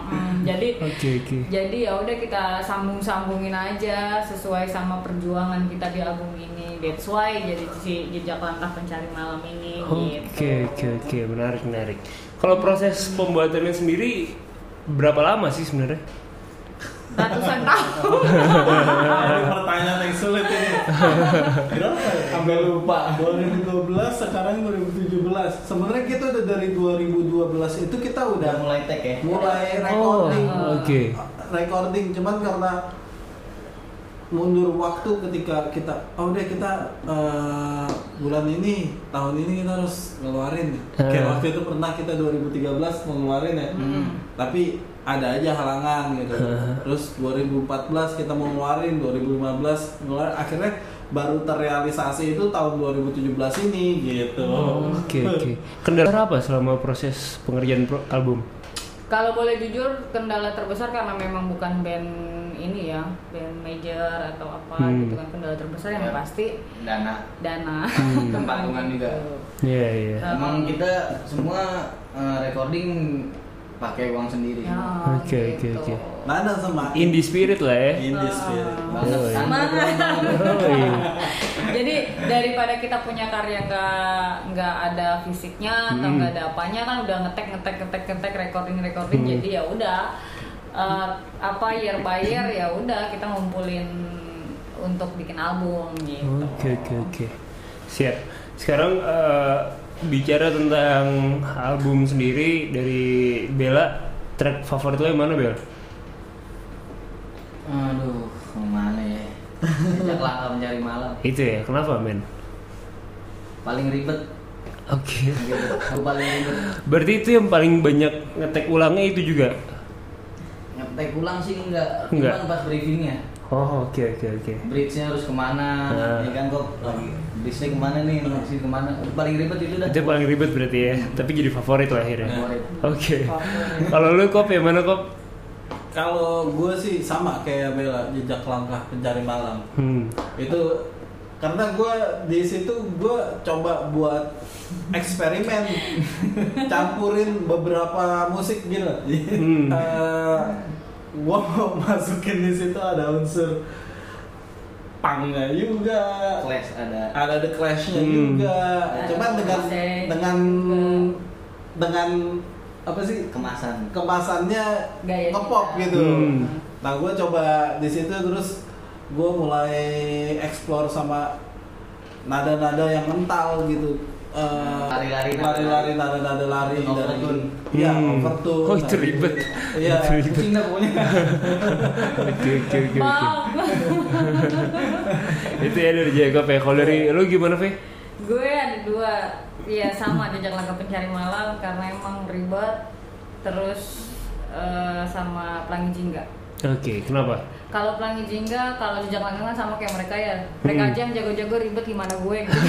Mm, jadi
Oke oke.
jadi ya udah kita sambung sambungin aja sesuai sama perjuangan kita di album ini that's why jadi si jejak langkah pencari malam ini gitu
Oke oke oke menarik menarik. Kalau proses pembuatannya sendiri berapa lama sih sebenarnya?
ratusan tahun
Aduh, pertanyaan yang sulit ini. Berapa? ya? Sampai lupa. 2012 sekarang 2017. Sebenarnya kita udah dari 2012 itu kita udah
Udah mulai tag ya.
mulai
Oh
recording.
oke.
recording cuman karena mundur waktu ketika kita oh deh kita eh, bulan ini tahun ini kita harus ngeluarin kayak
Eh.
waktu itu pernah kita 2013 mau ngeluarin ya tapi ada aja halangan gitu
Hmm. Eh.
terus 2014 kita mau ngeluarin 2015 ngeluarin akhirnya baru terrealisasi itu tahun 2017 ini gitu
Oh.
Oke oke. Kendala apa selama proses pengerjaan pro- album?
Kalau boleh jujur, kendala terbesar karena memang bukan band ini ya, band major atau apa
Hmm.
gitu kan kendala terbesar yang
Ya.
pasti
dana
dana.
Hmm.
Gitu.
Dan panggungan juga.
Iya iya.
emang kita semua eh, recording pakai uang sendiri
Ya,
Oke,
gitu.
oke, oke.
Nah.
nada sama
Indie spirit lah ya.
Indie spirit.
banget kan?
Yoi.
sangat banget.
Yoi.
Jadi daripada kita punya karya nggak nggak ada fisiknya
Hmm.
atau nggak ada apanya kan udah ngetek ngetek ngetek ngetek recording recording
Hmm.
jadi ya udah eh, apa year by year ya udah kita ngumpulin untuk bikin album gitu.
Oke oke oke. Siap. Sekarang eh, bicara tentang album sendiri dari Bella, track favorit lo yang mana Bel?
aduh kemana ya sejak langkah mencari malam
Itu ya. Kenapa men?
paling ribet
Oke.
gitu Aku paling ribet
Berarti itu yang paling banyak ngetek ulangnya itu juga.
ngetek ulang sih enggak
Enggak.
cuman pas briefingnya
Oh oke oke oke.
bridge-nya harus kemana
Nah.
ya kan kok lagi bridge-nya kemana nih bridge kemana paling ribet itu dah
Itu yang paling ribet berarti ya. Tapi jadi favorit lah akhirnya.
Favorit.
Oke. Kalau lu kop yang mana kop?
Kalau gue sih sama kayak Bella jejak langkah pencari malam
Hmm.
itu karena gue di situ gue coba buat eksperimen campurin beberapa musik gitu.
Hmm.
gue mau masukin di situ ada unsur pangnya juga,
clash ada
ada the clashnya
Hmm.
juga. Cuman dengan
Clash.
dengan dengan apa sih
kemasan
kemasannya
Gaya
ngepop
kita.
gitu.
Hmm.
Nah gue coba di situ terus gue mulai explore sama nada-nada yang mental gitu. Eh,
Lari-lari nada.
lari-lari nada-nada lari dari
Overtune.
ya
Hmm.
overtune.
Oh,
Nah,
itu ribet.
Iya.
Itu ribet.
pusing dah pokoknya
Oke oke oke. oke.
Maaf.
Itu ya dari Jacob ya. Kalau dari lu gimana Fe?
gue ada dua ya sama jejak langkah pencari malam karena emang ribet terus eh, sama pelangi jingga
Oke, kenapa?
kalau pelangi jingga kalau jejak langkah kan sama kayak mereka ya mereka
Hmm.
aja yang jago-jago ribet gimana gue gitu.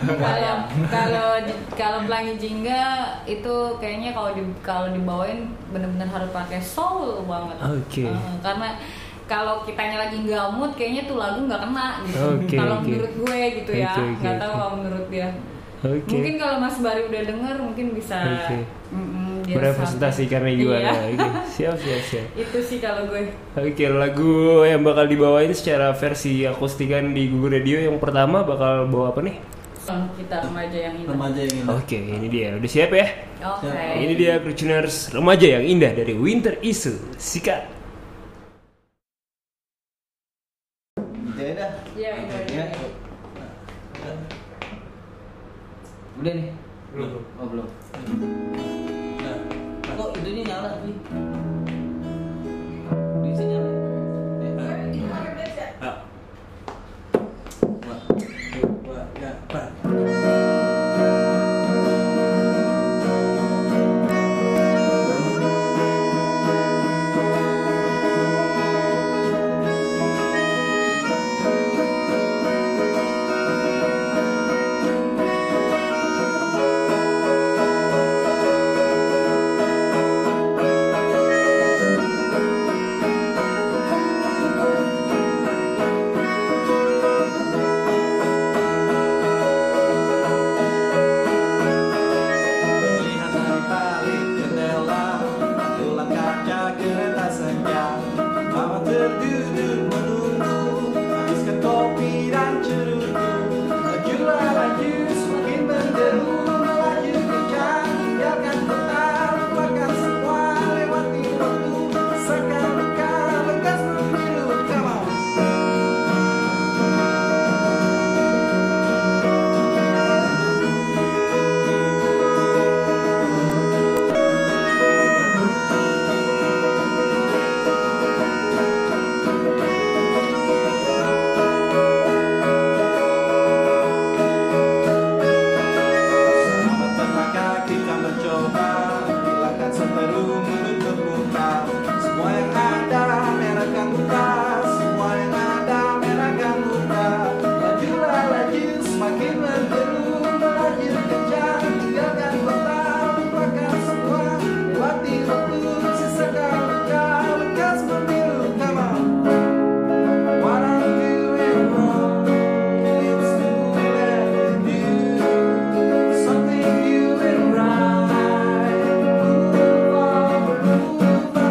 kalau kalau kalau pelangi jingga itu kayaknya kalau di kalau dibawain bener-bener harus pakai soul banget
Oke.
Eh, karena kalau kitanya lagi nggak mood kayaknya tuh lagu nggak kena gitu
Oke,
kalau
oke.
menurut gue gitu ya
Oke, oke,
nggak tahu
oke.
kalau menurut dia
Oke.
mungkin kalau Mas Bari udah denger mungkin bisa
Oke.
Mm-mm, dia
merepresentasikan
sampai.
gimana.
Iya.
Oke, Siap, siap, siap.
itu sih kalau gue
Oke, lagu yang bakal dibawain secara versi akustikan di Google Radio yang pertama bakal bawa apa nih?
Song kita remaja yang Iya, ini oke
remaja yang ini
Oke, ini dia. Udah siap ya? Ini dia Cruciners Remaja yang Indah dari Winter Issue. Sikat.
Gitu ya dah.
Iya, iya, iya.
Udah nih.
Belum.
Oh, belum.
Nah,
Kok itunya nyala nih? Bisa nyala.
nah. Wah, wah, ya, wah. nah. Melihat dari balik jendela Tulang kaca kereta senja Mama terduduk menunggu Habiskan kopi dan cerutu Laju laju semakin berderu Melaju kencang Biarkan kota lupakan semua Lewati waktu Sekarang-luka bekas memilu Come on Selamat pernah kaki kan mencoba Hilangkan seteru menutup muka Semua yang ada merahkan muka Semua yang ada merahkan muka Lajulah laju semakin menderu Melaju kencang tinggalkan kota Lupakan semua lewati waktu Sisakan luka bekas memilu Come on What I'm doing wrong It's to let you Something new and right. Move on, move on.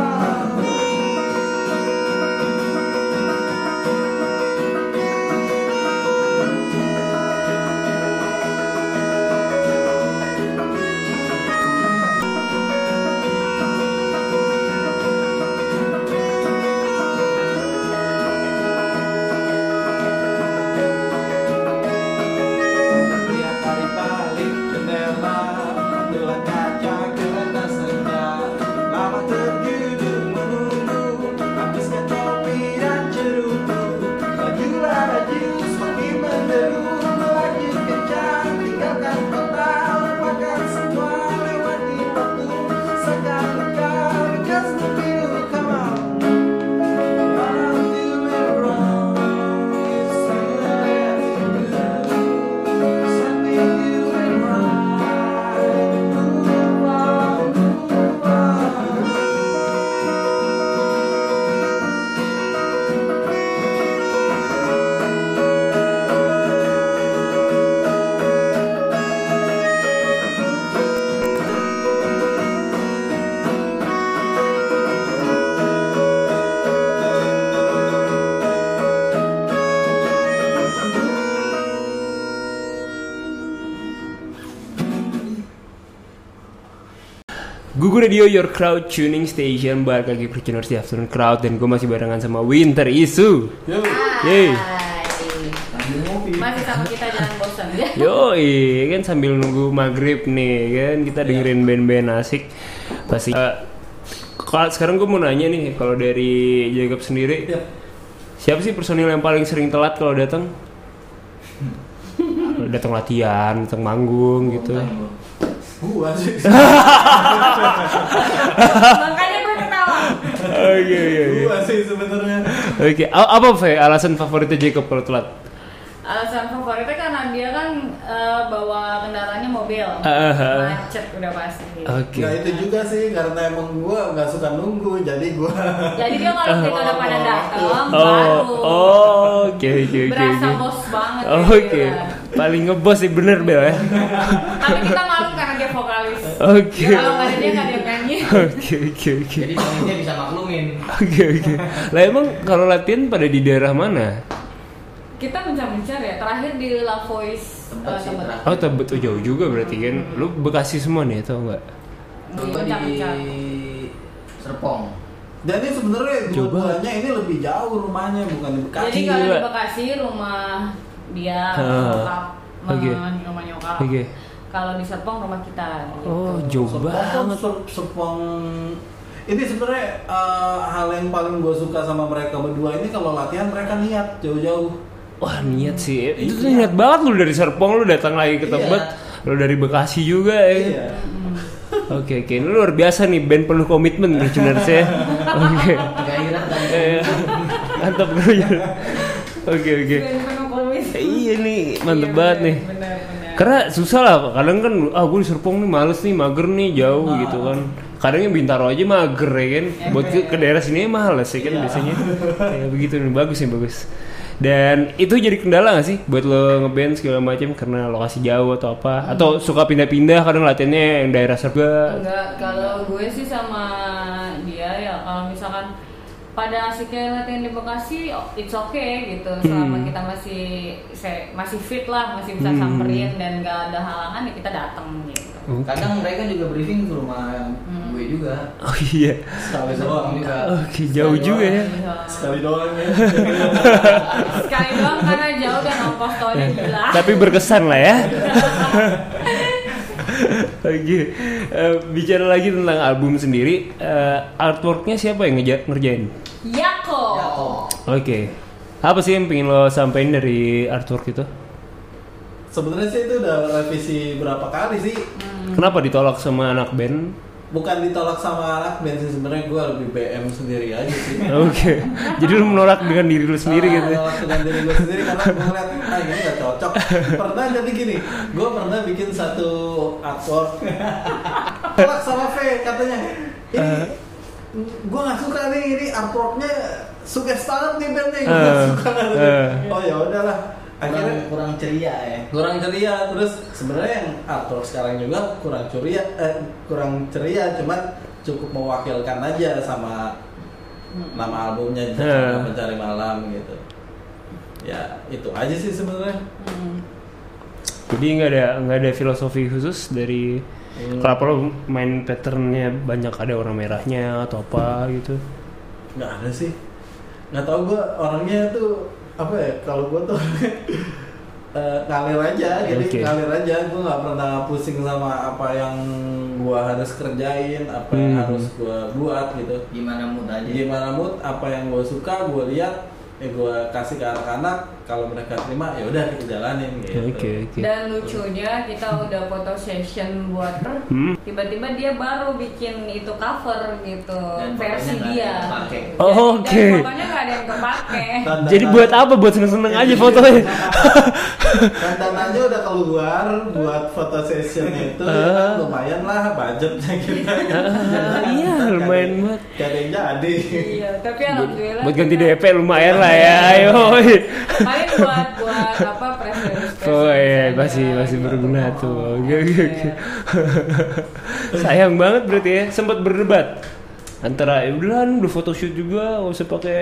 Lihat dari balik jendela Tulang kaca kereta senja Lama terjudul menunggu Habiskan kopi dan cerutu Lajulah laju semakin menderu Melaju kencang tinggalkan kota Lupakan semua lewati waktu Sekali-kali bekas memilu Come on
Google Radio Your Crowd Tuning Station balik lagi Cruciners di Afternoon Crowd dan gue masih barengan sama Winter Issue. Yeay.
masih sama kita jangan bosan ya
Yoi, kan sambil nunggu maghrib nih kan kita dengerin band-band asik pasti. Eh, kalau sekarang gue mau nanya nih kalau dari Jacob sendiri
Yap.
siapa sih personil yang paling sering telat kalau datang? datang latihan, datang manggung gitu.
Gua sih.
makanya gue ketawa
Oke, oke, oke.
Gua sih sebenarnya.
iya, Oke, a- apa Fe, alasan favoritnya Jacob kalau telat?
alasan favoritnya karena dia kan eh, bawa kendaraannya mobil
Ah, ah, ah.
macet udah pasti
Oke.
Nggak itu juga sih karena emang gua nggak suka nunggu jadi gua
jadi dia kalau kita udah pada
Ah.
datang
Oh,
baru
oh, oke, oke, oke.
berasa
oke. Oh,
bos banget ya,
Oke,
gila.
paling ngebos sih bener Bel ya.
tapi kita malu karena dia vokalis
Oh, Oke.
kalau nggak ada dia nggak ada yang
Oke oke oke.
jadi suaminya bisa maklumin
Oke oke. Lah emang kalau latihan pada di daerah mana?
Kita mencar-mencar ya. Terakhir di La Voice
Tempat
eh,
sih,
tempat.
Oh
terakhir.
tebet oh, jauh juga berarti kan. Lu Bekasi semua nih atau enggak?
contoh di
Mencar-mencar.
Serpong
Dan ini sebenarnya
Coba.
dua-duanya ini lebih jauh rumahnya bukan di Bekasi.
Jadi kalau di
Gila.
Bekasi rumah dia
Ah.
nyokap,
Oke.
eh, rumah nyokap.
Oke.
Kalau di Serpong rumah kita. gitu.
Oh jauh
Sepong tuh
banget.
se- sepong ini sebenarnya eh, hal yang paling gue suka sama mereka berdua ini kalau latihan mereka niat jauh-jauh.
Wah niat sih. Itu tuh
Iya.
niat banget lu dari Serpong lu datang lagi ke
Iya.
Tebet. Lu dari Bekasi juga ya.
Iya.
Oke oke. Ini luar biasa nih band penuh komitmen Rejuveners ya. Oke.
gairah dan
Eh, Mantap Rejuveners. Oke oke.
Dan penuh komis.
Iya nih,
Iya,
mantep banget
bener,
nih.
bener-bener.
Karena susah lah, kadang kan ah gue di Serpong nih males nih, mager nih, jauh gitu kan. Kadangnya Bintaro aja mager ya kan. Buat ke, ke daerah sini males ya kan biasanya. ya begitu nih, bagus nih, bagus. Dan itu jadi kendala gak sih buat lo ngeband segala macam karena lokasi jauh atau apa? Atau suka pindah-pindah kadang latihannya yang daerah Serba.
Enggak, kalau gue sih sama dia ya kalau misalkan pada asiknya latihan di Bekasi, oh, it's okay gitu. Selama
Hmm.
kita masih se- masih fit lah, masih bisa
Hmm.
samperin dan gak ada halangan ya kita datang gitu.
kadang mereka juga briefing ke rumah
Hmm.
gue juga
Oh iya.
sekali doang juga
Oke, jauh juga ya.
Sekali doang ya.
Sekali doang karena jauh dan ongkos tolnya
Eh,
gila.
Tapi berkesan lah ya. Oke, eh, bicara lagi tentang album sendiri, eh, artworknya siapa yang ngeja- ngerjain?
Yako.
Ya, oh.
Oke, apa sih yang pengen lo sampein dari artwork itu?
Sebenarnya sih itu udah revisi berapa kali sih?
Kenapa ditolak sama anak band?
Bukan ditolak sama anak band sih sebenarnya gue lebih BM sendiri aja sih.
Oke, jadi lo menolak dengan diri lo sendiri
Ah,
gitu. ya?
nolak dengan diri gue sendiri karena gue ngeliat ah ini gak cocok pernah jadi gini gue pernah bikin satu artwork tolak sama V katanya ini
Eh.
gue gak suka nih ini artworknya sukses banget nih bandnya gue gak
Eh,
suka
eh.
oh ya udahlah
kurang,
akhirnya
kurang ceria ya
kurang ceria terus sebenarnya yang artwork sekarang juga kurang ceria eh, kurang ceria cuman cukup mewakilkan aja sama nama albumnya
Eh.
mencari malam gitu ya itu aja sih sebenarnya
Jadi nggak ada nggak ada filosofi khusus dari kenapa lo main patternnya banyak ada warna merahnya atau apa gitu?
nggak ada sih nggak tahu gue orangnya tuh apa ya kalau gue tuh eh, ngalir aja jadi
Oke.
ngalir aja gue nggak pernah pusing sama apa yang gue harus kerjain apa yang
Hmm.
harus gue buat gitu
gimana mood aja
gimana mood apa yang gue suka gue lihat ya gue kasih ke anak-anak kalau mereka terima ya udah kita jalanin gitu
Oke oke.
Dan lucunya kita udah foto session buat per,
Hmm.
tiba-tiba dia baru bikin itu cover gitu
Dan
versi
fotonya nggak ada
dia.
yang kepake.
Dan-
Oh,
dan
oke.
fotonya nggak ada yang kepake.
Tantangan-
Eh, Jadi buat apa? Buat seneng-seneng aja fotonya.
tantangannya udah keluar buat foto session itu ya
Eh.
kan, lumayan lah budgetnya kita
iya, Eh, ya, lumayan banget.
gak ada yang jadi
iya, tapi alhamdulillah.
Buat ganti
kita-
DP lumayan lah ya. Ayo.
Paling buat buat apa press release. press
Oh iya,
release
masih
aja,
masih
gitu.
berguna tuh. Oke oke oke.
Iya.
Sayang banget berarti ya, sempat berdebat antara ya udah lu udah photoshoot juga nggak usah pakai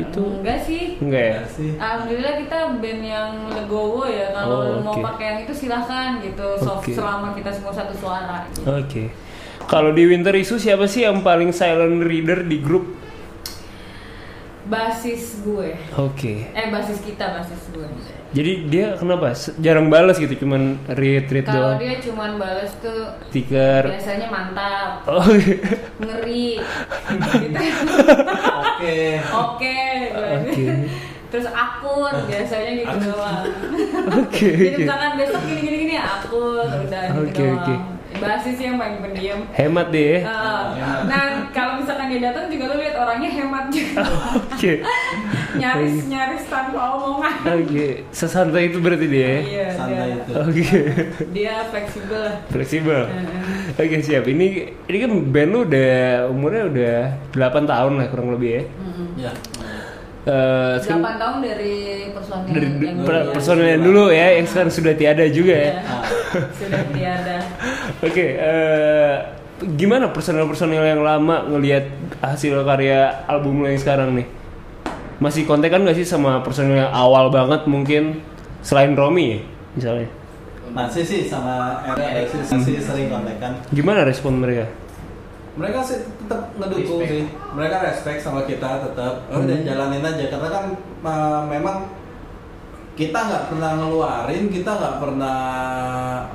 itu
Enggak sih.
enggak ya
sih
Alhamdulillah kita band yang legowo ya kalau lu
Oh,
mau
oke.
pakai yang itu silahkan gitu so,
Oke. Oh.
selama kita semua satu suara. gitu.
oke kalau di winter isu siapa sih yang paling silent reader di grup
Basis gue
oke
eh basis kita basis gue.
jadi dia kenapa Se- jarang balas gitu cuman read read
Kalau
Gitu doang
dia cuman bales tuh
stiker
biasanya mantap,
oke
ngeri, gitu.
oke
oke,
Oke.
terus akur biasanya gitu doang.
oke
Jadi
oke
misalkan besok gini gini gini akur udah
Oke,
gitu doang.
oke.
Basis yang paling pendiam.
hemat deh
Eh,
ya.
nah kalau misalkan dia datang juga lu lihat orangnya hemat juga
Oke,
nyaris nyaris tanpa omongan
oke, sesantai itu berarti dia. ya?
iya
santai
dia,
itu
Oke,
dia fleksibel lah
fleksibel. Oke siap. Ini ini kan band lu udah umurnya udah 8 tahun lah kurang lebih ya.
ya
Eh,
8
sekarang
tahun dari personil
dari
yang Iya.
per,
dia-
personel yang dulu ya, Iya. yang sekarang sudah tiada juga ya.
Iya, sudah tiada
Oke, eh gimana personil-personil yang lama ngelihat hasil karya album lo yang sekarang nih? Masih kontak kan gak sih sama personil yang awal banget mungkin selain Romi ya, misalnya?
Masih sih sama Eric sih masih sering kontekan.
Gimana respon mereka?
Mereka sih tetap ngedukung sih. Mereka respect sama kita tetap.
Hmm.
Oh, udah jalanin aja karena kan uh, memang kita nggak pernah ngeluarin, kita nggak pernah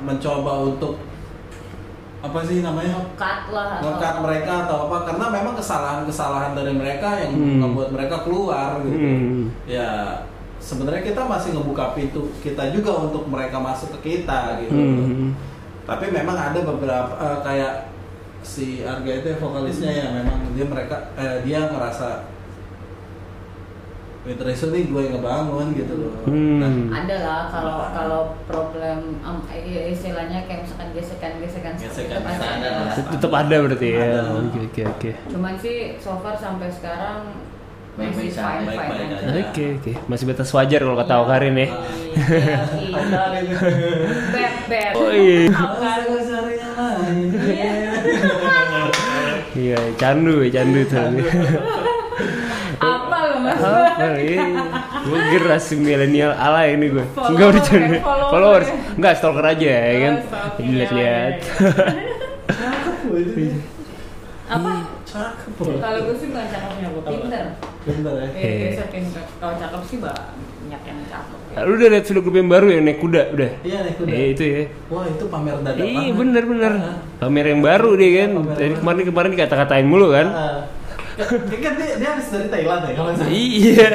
mencoba untuk apa sih namanya
ngekat lah atau-
ngekat mereka atau apa karena memang kesalahan-kesalahan dari mereka yang
Hmm.
membuat mereka keluar gitu
Hmm.
ya sebenarnya kita masih ngebuka pintu kita juga untuk mereka masuk ke kita gitu
Hmm.
tapi memang ada beberapa eh, kayak si Arga itu ya, vokalisnya ya memang dia mereka eh, dia merasa Winter Isu nih gue yang ngebangun gitu loh
Hmm.
Nah,
ada lah kalau kalau problem um, i- istilahnya kayak misalkan gesekan gesekan
Gesekan
pasti
sana.
ada lah.
Tetap ada berarti ya.
Ada.
Oke oke oke.
cuman sih so far sampai sekarang
Baik-baik
masih
saja,
fine fine
baik-baik
aja.
aja.
Oke oke. Masih batas wajar kalau kata Okarin
Iya,
ya.
iya, iya. Beb, beb.
Oh, iya.
Nah,
Alkar.
Iya, candu ya, candu tuh.
Apa lo mas?
Apa iya. Gue gerasi milenial ala ini gue.
Follower,
Enggak udah candu.
eh, follower.
Followers. Enggak stalker iya, aja ya kan.
Oh, stalking
Dilihat-lihat. Iya.
Apa?
cakep
Kalau gue sih bukan cakepnya, gue pinter.
bener ya
Iya,
Oke.
biasa pinter. Kalau cakep sih banyak yang cakep. ya.
Lu udah lihat video klip yang baru yang naik kuda iya. udah.
iya nih kuda
Eh, itu ya.
wah itu pamer dadakan
Iya bener bener Pamer yang baru dia kan
Pamer
Dari
baru.
kemarin kemarin dikata-katain mulu kan
Ah. Dia kan dia, dia habis dari Thailand ya kalau nggak salah.
Iya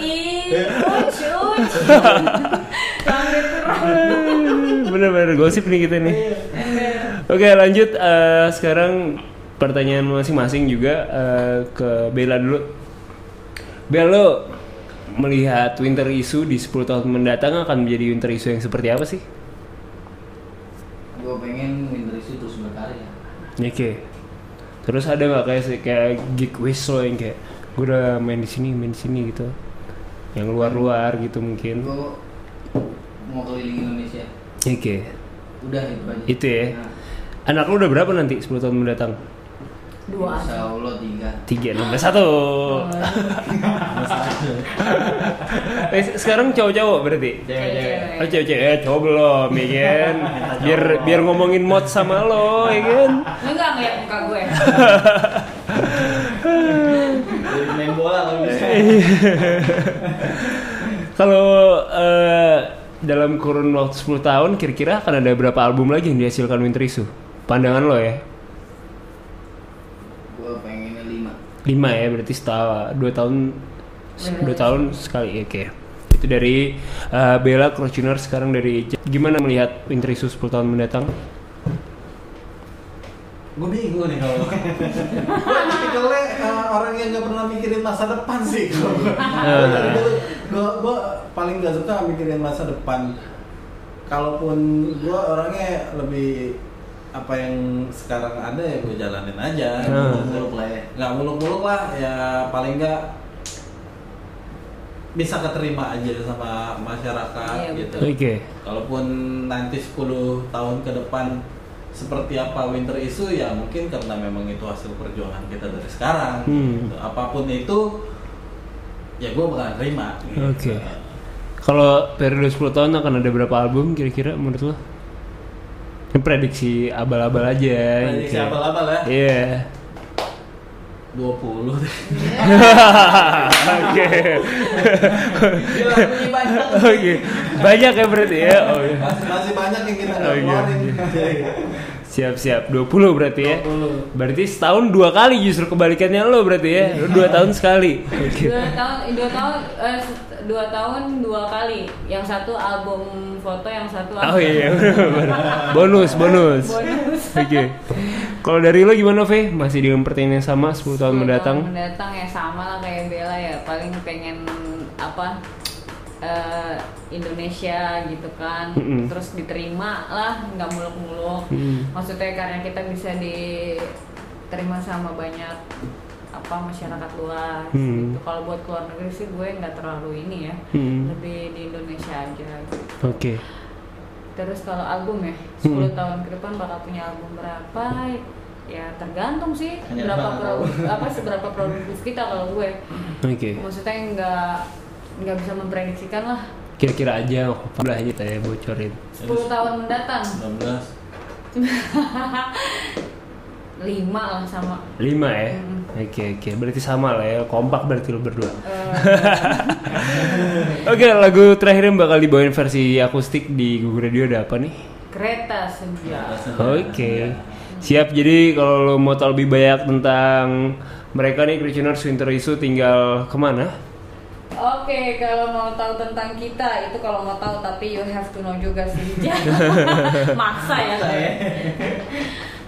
Ih, lucu. Sampai terang.
Bener bener gosip nih kita nih Oke lanjut eh, Sekarang pertanyaan masing-masing juga eh, Ke Bella dulu Bella melihat winter issue di 10 tahun mendatang akan menjadi winter issue yang seperti apa sih?
gue pengen Winter Issue terus berkarya
Ya, Oke. Terus ada nggak kayak kayak gig wish lo yang kayak gue udah main di sini, main di sini gitu. Yang luar-luar gitu mungkin. Oke.
gue mau keliling Indonesia udah itu aja
Itu ya?
Nah,
Anak lu udah berapa nanti 10 tahun mendatang?
Dua.
insya Allah tiga
3, 6, 1 Eh, Sekarang cowok-cowok berarti?
Cewek-cewek.
Oh cewek-cewek, eh cowok belum ya kan? Biar, biar ngomongin mod sama lo ya kan?
Lu nggak ngeliat muka gue.
Jadi main bola kalau bisa
Kalau eh, dalam kurun waktu 10 tahun kira-kira akan ada berapa album lagi yang dihasilkan Winter Issue? Pandangan lo ya?
gue pengennya lima
5 ya berarti setahun 2 tahun 2 tahun sekali ya, oke. Itu dari eh, Bella Crochuner sekarang dari J- gimana melihat Winter Issue 10 tahun mendatang?
Gue bingung nih kalau Gue tipikalnya uh, orang yang gak pernah mikirin masa depan sih Gue paling gak suka mikirin masa depan Kalaupun gue orangnya lebih apa yang sekarang ada ya gue jalanin aja
Hmm.
muluk-muluk lah ya nggak muluk-muluk lah ya paling nggak bisa keterima aja sama masyarakat
Iya,
gitu
Oke.
Kalaupun nanti 10 tahun ke depan seperti apa winter issue ya mungkin karena memang itu hasil perjuangan kita dari sekarang.
Hmm.
gitu. Apapun itu ya gue bakal terima. gitu.
Oke. Kalau periode 10 tahun akan ada berapa album kira-kira menurut lo? Ini prediksi abal-abal aja.
Prediksi
gitu.
abal-abal ya.
Iya.
20
Oke.
Gila, ini banyak.
Oke. Banyak ya berarti ya. Oh, iya.
Masih, masih banyak yang kita nggak
Oh, iya,
keluarin.
Siap-siap 20 berarti ya.
20.
Berarti setahun dua kali justru kebalikannya lo berarti ya.
Iya.
Lo dua tahun sekali. Oke.
Dua tahun, dua tahun, eh, dua tahun dua kali. Yang satu album foto, yang satu album.
Oh iya. bonus, bonus.
Bonus.
Oke. Kalau dari lo gimana, Ve? Masih dengan pertanyaan yang sama 10 tahun
Sepuluh
mendatang?
mendatang ya sama lah kayak Bella ya paling pengen apa eh, Indonesia gitu kan
Mm-mm.
terus diterima lah nggak muluk-muluk
Mm.
maksudnya karena kita bisa diterima sama banyak apa masyarakat luas
Mm.
gitu. kalau buat keluar negeri sih gue nggak terlalu ini ya
Mm.
lebih di Indonesia aja gitu.
Oke.
Terus kalau album ya, 10
Hmm.
tahun ke depan bakal punya album berapa? ya tergantung sih
Hanya
berapa
banget.
pro, apa seberapa produktif kita kalau gue
Oke.
maksudnya nggak nggak bisa memprediksikan lah
Kira-kira aja waktu aja tadi ya, bocorin.
10 tahun mendatang
16
lima lah sama
Lima ya.
Mm.
Oke oke. Berarti sama lah ya. Kompak berarti lo berdua.
Eh,
Oke lagu terakhir yang bakal dibawain versi akustik di Google Radio ada apa nih?
kereta
Ya,
senja
Iya.
Oke. Siap. Jadi kalau lo mau tahu lebih banyak tentang mereka nih Christianers Winter Issue tinggal kemana?
Oke, kalau mau tahu tentang kita itu kalau mau tahu tapi you have to know juga sih. Jangan maksa ya.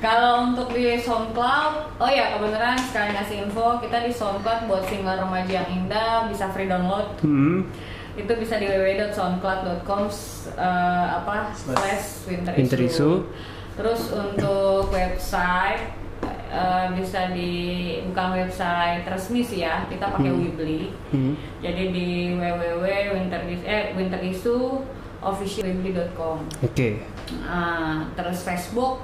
kalau untuk di SoundCloud, oh ya kebenaran sekalian kasih info, kita di SoundCloud buat single remaja yang indah bisa free download.
Hmm.
Itu bisa di www.soundcloud.com eh, apa slash winter,
Winter Issue.
issue. Terus untuk website eh, bisa di bukan website resmi sih ya, kita pakai Weebly.
Hmm.
Jadi di www.winteris eh winterissueofficialwebly.com.
Oke.
Ah, terus Facebook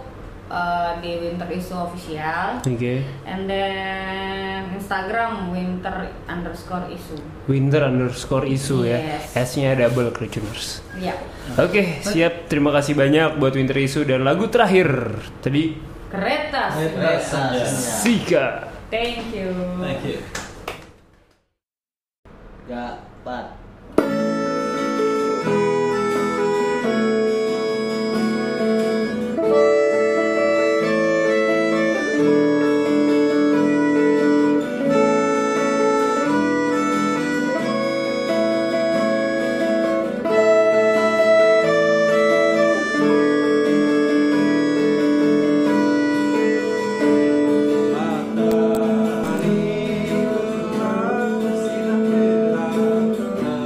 eh, di Winter Issue Official
Oke.
and then Instagram winter underscore issue.
Winter underscore issue ya.
Yes.
S-nya double Christianers.
Iya,
Oke, siap. Terima kasih banyak buat Winter Issue dan lagu terakhir tadi
kereta.
Sika.
Thank you.
Thank you.
Dapat.
Matahari bersinar merah